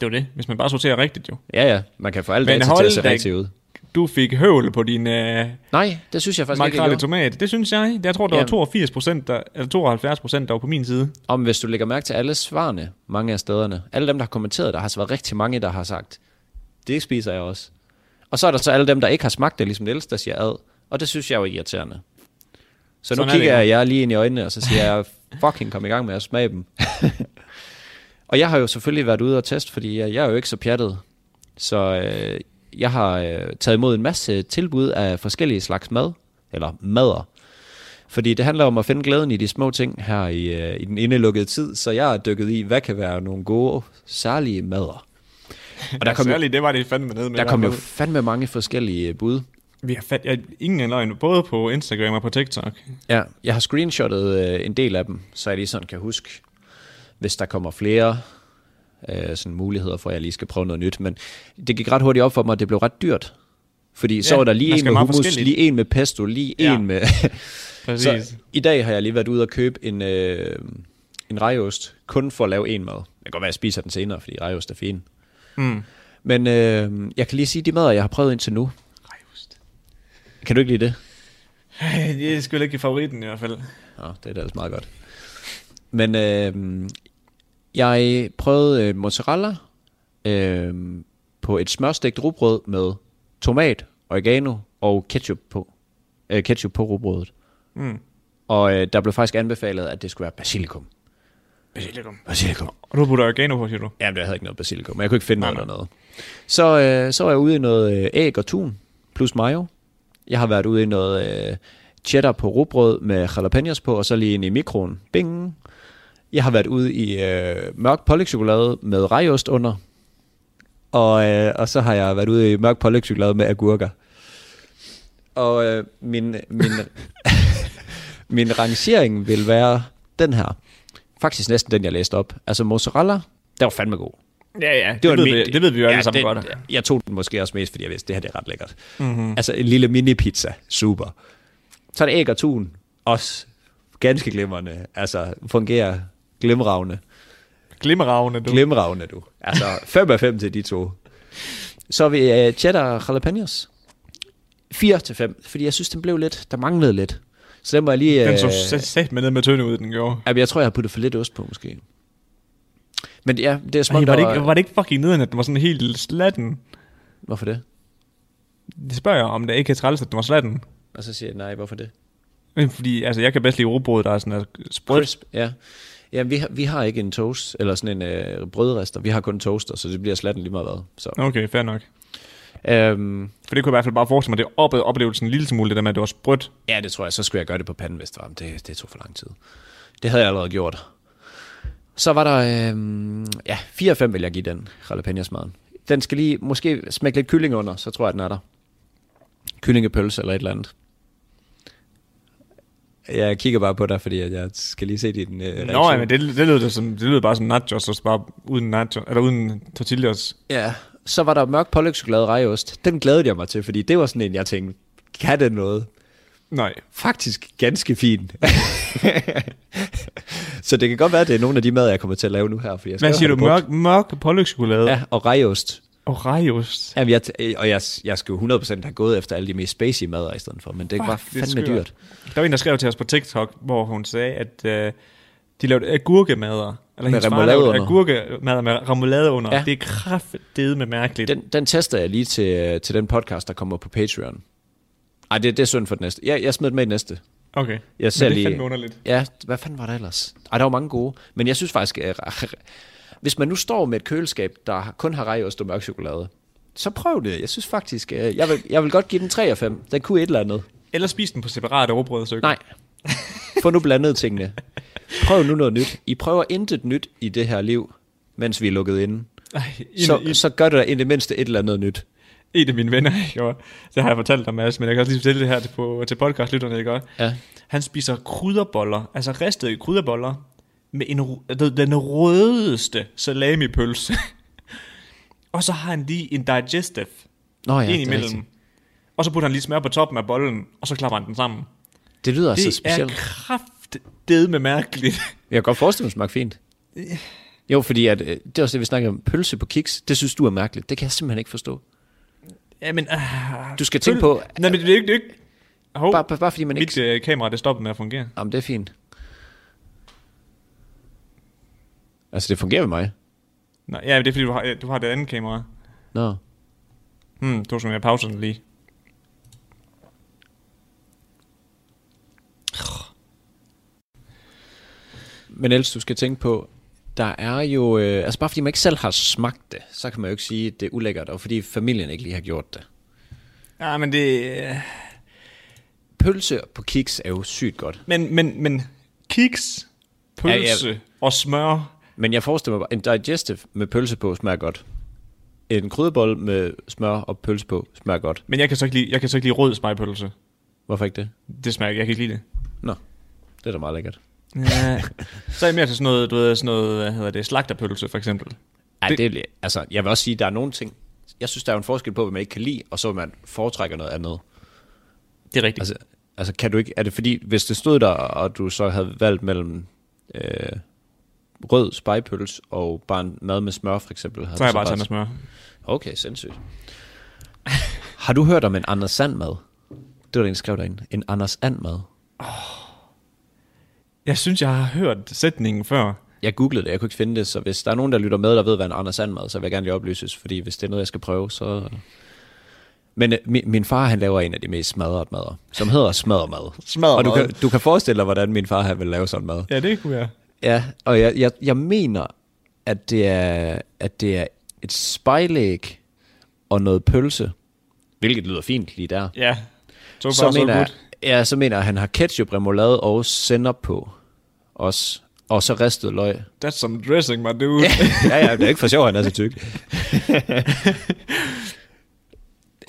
[SPEAKER 2] Det er jo det, hvis man bare sorterer rigtigt jo.
[SPEAKER 3] Ja, ja, man kan få alle
[SPEAKER 2] Men
[SPEAKER 3] data til
[SPEAKER 2] hold
[SPEAKER 3] at se
[SPEAKER 2] da-
[SPEAKER 3] rigtigt ud.
[SPEAKER 2] Du fik høvl på din øh,
[SPEAKER 3] Nej, det synes jeg faktisk ikke, jeg
[SPEAKER 2] makrel i
[SPEAKER 3] gjorde.
[SPEAKER 2] tomat. Det synes jeg. Jeg tror, der var
[SPEAKER 3] Jamen.
[SPEAKER 2] 82 procent, eller 72 procent, der var på min side.
[SPEAKER 3] Om hvis du lægger mærke til alle svarene, mange af stederne, alle dem, der har kommenteret, der har så været rigtig mange, der har sagt, det spiser jeg også. Og så er der så alle dem, der ikke har smagt det, ligesom Niels, der siger ad, og det synes jeg jo er irriterende. Så
[SPEAKER 2] Sådan
[SPEAKER 3] nu
[SPEAKER 2] er det
[SPEAKER 3] kigger
[SPEAKER 2] jo.
[SPEAKER 3] jeg jer lige ind i øjnene, og så siger jeg, fucking kom i gang med at smage dem. og jeg har jo selvfølgelig været ude og teste, fordi jeg, jeg er jo ikke så pjattet. Så øh, jeg har øh, taget imod en masse tilbud af forskellige slags mad, eller mader. Fordi det handler om at finde glæden i de små ting her i, øh, i den indelukkede tid, så jeg er dykket i, hvad kan være nogle gode, særlige mader. Og der kom, jo,
[SPEAKER 2] Særligt, det var det fandme nede med.
[SPEAKER 3] der kom jo fandme mange forskellige øh, bud.
[SPEAKER 2] Vi har fat... Jeg, ingen er løgn, både på Instagram og på TikTok.
[SPEAKER 3] Ja, jeg har screenshottet øh, en del af dem, så jeg lige sådan kan huske, hvis der kommer flere øh, sådan muligheder for, at jeg lige skal prøve noget nyt. Men det gik ret hurtigt op for mig, at det blev ret dyrt. Fordi ja, så
[SPEAKER 2] Ja,
[SPEAKER 3] var der
[SPEAKER 2] man
[SPEAKER 3] lige en
[SPEAKER 2] skal
[SPEAKER 3] med
[SPEAKER 2] meget
[SPEAKER 3] hummus,
[SPEAKER 2] forskelligt.
[SPEAKER 3] lige en med pesto, lige
[SPEAKER 2] Ja.
[SPEAKER 3] en med...
[SPEAKER 2] Præcis.
[SPEAKER 3] så i dag har jeg lige været ude og købe en, øh, en rejost, kun for at lave en mad. Det kan godt være, at jeg spiser den senere, fordi rejost er fin.
[SPEAKER 2] Mm.
[SPEAKER 3] Men øh, jeg kan lige sige de mader, jeg har prøvet indtil nu.
[SPEAKER 2] Rejost.
[SPEAKER 3] Kan du ikke lide det?
[SPEAKER 2] Ej, Det er sgu ikke i favoritten i hvert fald.
[SPEAKER 3] Nå, det er da ellers meget godt. Men øh, jeg prøvede øh, mozzarella øh, på et smørstegt rugbrød med tomat, oregano og ketchup på. Øh, ketchup på rugbrødet.
[SPEAKER 2] Mm.
[SPEAKER 3] Og øh, der blev faktisk anbefalet, at det skulle være basilikum.
[SPEAKER 2] Basilikum.
[SPEAKER 3] Basilikum?
[SPEAKER 2] Og du putter oregano på, siger du?
[SPEAKER 3] Jamen, jeg havde ikke noget basilikum, men jeg kunne ikke finde
[SPEAKER 2] Nej,
[SPEAKER 3] noget dernede. Så, øh, så var jeg ude i noget øh, æg og tun, plus mayo. Jeg har været ude i noget øh, cheddar på rugbrød med jalapenos på, og så lige ind i mikroen. Bing! Jeg har været ude i øh, mørk pålægtschokolade med rejost under. Og, øh, og så har jeg været ude i mørk pålægtschokolade med agurker. Og øh, min, min, min rangering vil være den her. Faktisk næsten den, jeg læste op. Altså mozzarella, der var fandme god.
[SPEAKER 2] Ja, ja. Det, det, ved, vi, det ved vi jo alle sammen
[SPEAKER 3] det,
[SPEAKER 2] godt. Mhm.
[SPEAKER 3] Jeg tog den måske også mest, fordi jeg vidste, det her det er ret lækkert. Mm-hmm. Altså en lille mini-pizza, super. Så er det æg og tun, også ganske glimrende. Altså fungerer glimragende.
[SPEAKER 2] Glimmeragende, du.
[SPEAKER 3] Glimragende du. Altså 5 af 5 til de to. Så er vi uh, cheddar og jalapenos. 4 til 5, fordi jeg synes, den blev lidt, der manglede lidt. Så den må jeg lige...
[SPEAKER 2] Den
[SPEAKER 3] øh,
[SPEAKER 2] så sat- sat med ned med tynde ud, den gjorde.
[SPEAKER 3] Jamen, jeg tror, jeg har puttet for lidt ost på, måske. Men ja, det er
[SPEAKER 2] Ej,
[SPEAKER 3] småt.
[SPEAKER 2] var, det ikke, var det ikke fucking nederen, at den var sådan helt slatten?
[SPEAKER 3] Hvorfor det?
[SPEAKER 2] Det spørger jeg, om det ikke er træls, at den var slatten.
[SPEAKER 3] Og så siger jeg, nej, hvorfor det?
[SPEAKER 2] Men Fordi altså, jeg kan bedst lide rugbrød, der er sådan altså, sprødt.
[SPEAKER 3] Crisp, ja. Ja, vi har, vi har ikke en toast, eller sådan en øh, brødrester. Vi har kun en toaster, så det bliver slatten lige meget hvad. Så.
[SPEAKER 2] Okay, fair nok.
[SPEAKER 3] Øhm,
[SPEAKER 2] For det kunne jeg i hvert fald bare forestille mig, det oppede oplevelsen en lille smule, det der med, at det var sprødt.
[SPEAKER 3] ja, det tror jeg. Så skulle jeg gøre det på panden, hvis det var. Men Det, det tog for lang tid. Det havde jeg allerede gjort. Så var der, øhm, ja, 4-5 vil jeg give den jalapenosmaden. Den skal lige, måske smække lidt kylling under, så tror jeg, den er der. Kyllingepølse eller et eller andet. Jeg kigger bare på dig, fordi at jeg skal lige se din øh, reaktion.
[SPEAKER 2] Nå, ja, men det, det, lød, det, som, det lød bare som nachos, og så bare uden, nachos, eller uden tortillas.
[SPEAKER 3] Ja, så var der mørk pålægtschokolade rejeost. Den glædede jeg mig til, fordi det var sådan en, jeg tænkte, kan det noget?
[SPEAKER 2] Nej.
[SPEAKER 3] Faktisk ganske fint. så det kan godt være, at det er nogle af de mad, jeg kommer til at lave nu her. Fordi jeg skal
[SPEAKER 2] Hvad
[SPEAKER 3] jo
[SPEAKER 2] siger du?
[SPEAKER 3] have det brugt.
[SPEAKER 2] Mørk, mørk pålægschokolade ja.
[SPEAKER 3] Ja, og rejeost.
[SPEAKER 2] og rejost.
[SPEAKER 3] Jamen, jeg, t- og jeg, jeg skulle 100% have gået efter alle de mest spacey mader i stedet for, men det var
[SPEAKER 2] Fuck, det er
[SPEAKER 3] fandme
[SPEAKER 2] skørt.
[SPEAKER 3] dyrt.
[SPEAKER 2] Der var en, der skrev til os på TikTok, hvor hun sagde, at øh, de lavede agurkemader. Eller hendes far
[SPEAKER 3] remoulade
[SPEAKER 2] lavede
[SPEAKER 3] under.
[SPEAKER 2] Agurkemader med remoulade under.
[SPEAKER 3] Ja.
[SPEAKER 2] Ja. Det er kraftedeme mærkeligt.
[SPEAKER 3] Den, den tester jeg lige til, til den podcast, der kommer på Patreon. Ej, det, det er synd for den næste. Jeg, jeg smed den med i den næste.
[SPEAKER 2] Okay.
[SPEAKER 3] Jeg ser
[SPEAKER 2] Men det
[SPEAKER 3] lige-
[SPEAKER 2] er fandme underligt.
[SPEAKER 3] Ja, hvad fanden var der ellers? Ej, der var mange gode. Men jeg synes faktisk, at hvis man nu står med et køleskab, der kun har rejost og mørk chokolade, så prøv det. Jeg synes faktisk, øh, jeg vil, jeg vil godt give den 3 af 5. Den kunne et eller andet.
[SPEAKER 2] Eller spis den på separat overbrødsstykke.
[SPEAKER 3] Nej. Få nu blandet tingene. Prøv nu noget nyt. I prøver intet nyt i det her liv, mens vi er lukket inde.
[SPEAKER 2] Ej, en, så,
[SPEAKER 3] Så,
[SPEAKER 2] en,
[SPEAKER 3] så gør det da i det mindste et eller andet nyt.
[SPEAKER 2] en, af mine venner, ikke? Og det har jeg fortalt dig, Mads, men jeg kan også lige fortælle det her til, på, til podcastlytterne, ikke? også?
[SPEAKER 3] Ja.
[SPEAKER 2] Han spiser krydderboller, altså ristede krydderboller, med en, ru- den- den rødeste salamipølse. og så har han lige en digestive
[SPEAKER 3] Nå ja,
[SPEAKER 2] ja, ind
[SPEAKER 3] det, er
[SPEAKER 2] imellem.
[SPEAKER 3] rigtigt.
[SPEAKER 2] Og så putter han lige smør på toppen af bollen, og så klapper han den sammen.
[SPEAKER 3] det lyder altså
[SPEAKER 2] det er
[SPEAKER 3] specielt.
[SPEAKER 2] kraftedeme mærkeligt.
[SPEAKER 3] Jeg kan godt forestille mig, det smagte fint. Jo, fordi at, øh, det er også det, vi snakker om. Pølse på kiks, det synes du er mærkeligt. Det kan jeg simpelthen ikke forstå.
[SPEAKER 2] Ja, men... Uh,
[SPEAKER 3] Du skal tænke på,
[SPEAKER 2] Nej, men det er ikke... Det er ikke hov,
[SPEAKER 3] bare, bare, bare fordi man
[SPEAKER 2] mit
[SPEAKER 3] ikke...
[SPEAKER 2] øh, kamera, det stoppede med at fungere.
[SPEAKER 3] Jamen, det er fint. Altså, det fungerer ved mig.
[SPEAKER 2] Nå, ja, men det er fordi, du har, du har det andet kamera.
[SPEAKER 3] Nå.
[SPEAKER 2] Hmm, to sekunder, jeg pauser den lige.
[SPEAKER 3] Men ellers, du skal tænke på, der er jo... Øh, altså, bare fordi man ikke selv har smagt det, så kan man jo ikke sige, at det er ulækkert, og fordi familien ikke lige har gjort det.
[SPEAKER 2] Ja, men det... øh,
[SPEAKER 3] Pølse på kiks er jo sygt godt.
[SPEAKER 2] Men, men, men... Kiks, pølse ja,
[SPEAKER 3] Ja,
[SPEAKER 2] ja. og smør.
[SPEAKER 3] Men jeg forestiller mig bare, en digestive med pølse på smager godt. En krydderbold med smør og pølse på smager godt.
[SPEAKER 2] Men jeg kan så ikke lide, jeg kan så ikke lide rød spejpølse.
[SPEAKER 3] Hvorfor ikke det?
[SPEAKER 2] Det smager ikke, jeg kan ikke lide det.
[SPEAKER 3] Nå, det er da meget lækkert.
[SPEAKER 2] Ja. så er jeg mere til sådan noget, du ved, sådan noget, hvad hedder det, slagterpølse for eksempel.
[SPEAKER 3] Ej,
[SPEAKER 2] Det-
[SPEAKER 3] det, det, er- altså, jeg vil også sige, at der er nogle ting... Jeg synes, der er jo en forskel på, hvad man ikke kan lide, og så hvad man foretrækker noget andet.
[SPEAKER 2] Det er rigtigt. Altså,
[SPEAKER 3] Altså, altså kan du ikke... Er det fordi, hvis det stod der, og du så havde valgt mellem øh, rød spejpøls og bare en mad med smør, for eksempel... havde
[SPEAKER 2] så har jeg
[SPEAKER 3] du
[SPEAKER 2] bare taget med smør.
[SPEAKER 3] Okay, sindssygt. Har du hørt om en Anders Sand mad? Det var det, en skrev derinde. En Anders And mad.
[SPEAKER 2] Jeg synes, jeg har hørt sætningen før.
[SPEAKER 3] Jeg googlede det, jeg kunne ikke finde det, så hvis der er nogen, der lytter med, der ved, hvad en Anders And mad, så vil jeg gerne lige oplyses, fordi hvis det er noget, jeg skal prøve, så... Men øh, min, min far, han laver en af de mest smadrede madder, som hedder smadremad.
[SPEAKER 2] Smadret
[SPEAKER 3] Og du
[SPEAKER 2] mad.
[SPEAKER 3] kan, du kan forestille dig, hvordan min far, han vil lave sådan mad.
[SPEAKER 2] Ja, det kunne jeg.
[SPEAKER 3] Ja, og jeg, jeg, jeg mener, at det, er, at det er et spejlæg og noget pølse, hvilket lyder fint lige der.
[SPEAKER 2] Ja. Så, far,
[SPEAKER 3] så,
[SPEAKER 2] så
[SPEAKER 3] mener jeg,
[SPEAKER 2] good.
[SPEAKER 3] ja, så mener jeg, at han har ketchup, remoulade og sennep på også. Og så ristet løg.
[SPEAKER 2] That's some dressing, my dude.
[SPEAKER 3] ja, ja, det er ikke for sjov, han er så tyk.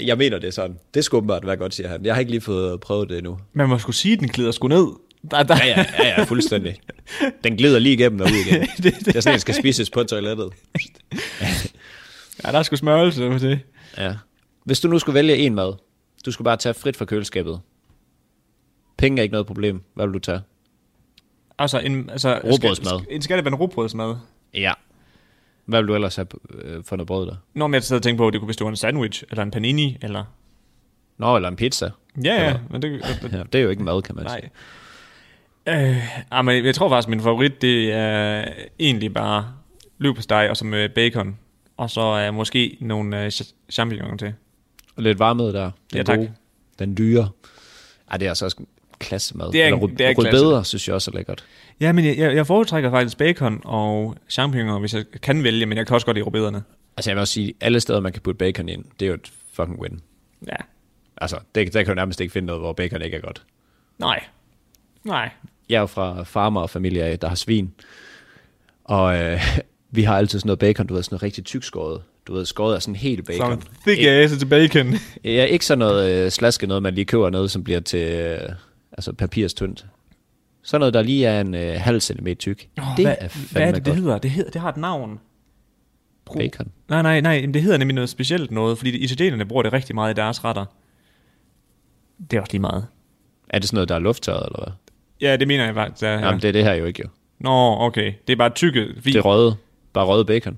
[SPEAKER 3] jeg mener det er sådan. Det skulle åbenbart være godt, siger han. Jeg har ikke lige fået prøvet det endnu.
[SPEAKER 2] Man må sgu sige, at den glider sgu ned. Der, der.
[SPEAKER 3] Ja, ja, ja, ja fuldstændig. Den glider lige igennem og ud igen. det, det, det, er sådan, den skal spises på toilettet.
[SPEAKER 2] ja, der er sgu smørelse på det.
[SPEAKER 3] Ja. Hvis du nu skulle vælge en mad, du skulle bare tage frit fra køleskabet. Penge er ikke noget problem. Hvad vil du tage?
[SPEAKER 2] Altså, en, altså,
[SPEAKER 3] Rugbrødsmad.
[SPEAKER 2] sk- En skatteband rugbrødsmad.
[SPEAKER 3] Ja. Hvad vil du ellers have øh, for noget brød der?
[SPEAKER 2] Når man sad og tænkte på, at det kunne bestå af en sandwich, eller en panini, eller...
[SPEAKER 3] Nå, eller en pizza.
[SPEAKER 2] Ja, ja, men det... det, det
[SPEAKER 3] Ja, det er jo ikke mad, kan man sige.
[SPEAKER 2] nej. Øh, ah, men jeg tror faktisk, min favorit, det er egentlig bare løbesteg og så med bacon. Og så uh, måske nogle uh, champignoner til.
[SPEAKER 3] Og lidt varmød der. Den
[SPEAKER 2] Ja, tak.
[SPEAKER 3] gode. Den dyre. Ej, det er altså også klasse mad.
[SPEAKER 2] Det er en-
[SPEAKER 3] eller
[SPEAKER 2] det er klasse.
[SPEAKER 3] rødbeder, synes jeg også er lækkert.
[SPEAKER 2] Ja, men jeg, jeg jeg foretrækker faktisk bacon og champignoner, hvis jeg kan vælge, men jeg kan også godt lide rubederne.
[SPEAKER 3] Altså, jeg vil også sige, alle steder, man kan putte bacon ind, det er jo et fucking win.
[SPEAKER 2] Ja.
[SPEAKER 3] Altså, det, der kan du nærmest ikke finde noget, hvor bacon ikke er godt.
[SPEAKER 2] Nej. Nej.
[SPEAKER 3] Jeg er jo fra farmer og familie, der har svin. Og øh, vi har altid sådan noget bacon, du ved, sådan noget rigtig tykskåret. Du ved, skåret af sådan helt
[SPEAKER 2] Som
[SPEAKER 3] bacon.
[SPEAKER 2] thick ass til bacon.
[SPEAKER 3] Ja, ikke sådan noget øh, slaske noget, man lige køber noget, som bliver til øh, altså papirstyndt. Sådan noget, der lige er en øh, halv centimeter tyk. det er fandme
[SPEAKER 2] hvad er det, det
[SPEAKER 3] godt.
[SPEAKER 2] hedder? Det, hedder, det har et navn. Pro-
[SPEAKER 3] Bacon.
[SPEAKER 2] Nej, nej, nej. jamen, Det hedder nemlig noget specielt noget, fordi italienerne bruger det rigtig meget i deres retter. Det er også lige meget.
[SPEAKER 3] Er det sådan noget, der er lufttørret, eller hvad?
[SPEAKER 2] Ja, det mener jeg faktisk. Ja,
[SPEAKER 3] Ja.
[SPEAKER 2] ja.
[SPEAKER 3] Jamen, det er det her jo ikke, jo.
[SPEAKER 2] Nå, okay. Det er bare tykke. Fordi...
[SPEAKER 3] Det er røde. Bare røde bacon.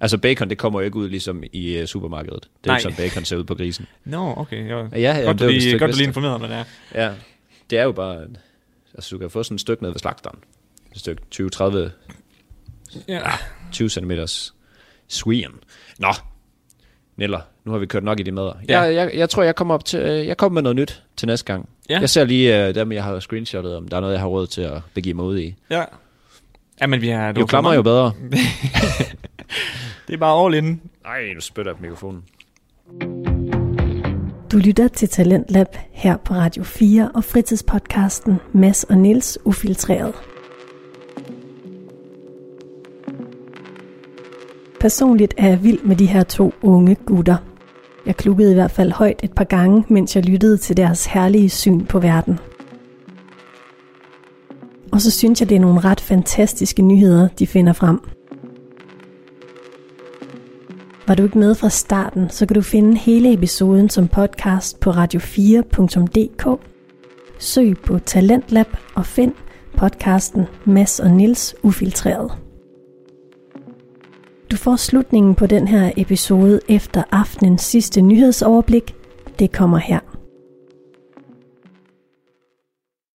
[SPEAKER 3] Altså, bacon, det kommer jo ikke ud ligesom i øh, supermarkedet. Det er
[SPEAKER 2] Nej.
[SPEAKER 3] jo ikke sådan, bacon ser ud på grisen.
[SPEAKER 2] Nå, okay. Jo.
[SPEAKER 3] Ja, ja,
[SPEAKER 2] godt,
[SPEAKER 3] det
[SPEAKER 2] du
[SPEAKER 3] var vist
[SPEAKER 2] lige,
[SPEAKER 3] ikke
[SPEAKER 2] godt, du
[SPEAKER 3] vidste
[SPEAKER 2] lige
[SPEAKER 3] det.
[SPEAKER 2] informerede mig der.
[SPEAKER 3] Ja. Det er jo bare... Altså, du kan få sådan et stykke ned ved slagteren. Et stykke 20-30
[SPEAKER 2] Ja.
[SPEAKER 3] 20 cm swien. Nå, Neller, nu har vi kørt nok i de mader.
[SPEAKER 2] Ja.
[SPEAKER 3] Ja. Jeg, jeg, jeg tror, jeg kommer, op til, øh, jeg kommer med noget nyt til næste gang.
[SPEAKER 2] Ja.
[SPEAKER 3] Jeg ser lige øh, dem, jeg har screenshotet, om der er noget, jeg har råd til at begive mig ud i.
[SPEAKER 2] ja. Ja, men vi har...
[SPEAKER 3] Jo klammer jo bedre.
[SPEAKER 2] Det er bare all in.
[SPEAKER 3] Nej, nu spytter jeg på mikrofonen.
[SPEAKER 1] Du lytter til Talentlab her på Radio 4 og fritidspodcasten Mads og Nils Ufiltreret. Personligt er jeg vild med de her to unge gutter. Jeg klukkede i hvert fald højt et par gange, mens jeg lyttede til deres herlige syn på verden. Og så synes jeg, det er nogle ret fantastiske nyheder, de finder frem. Var du ikke med fra starten, så kan du finde hele episoden som podcast på radio4.dk. Søg på Talentlab og find podcasten Mass og Nils Ufiltreret. Du får slutningen på den her episode efter aftenens sidste nyhedsoverblik. Det kommer her.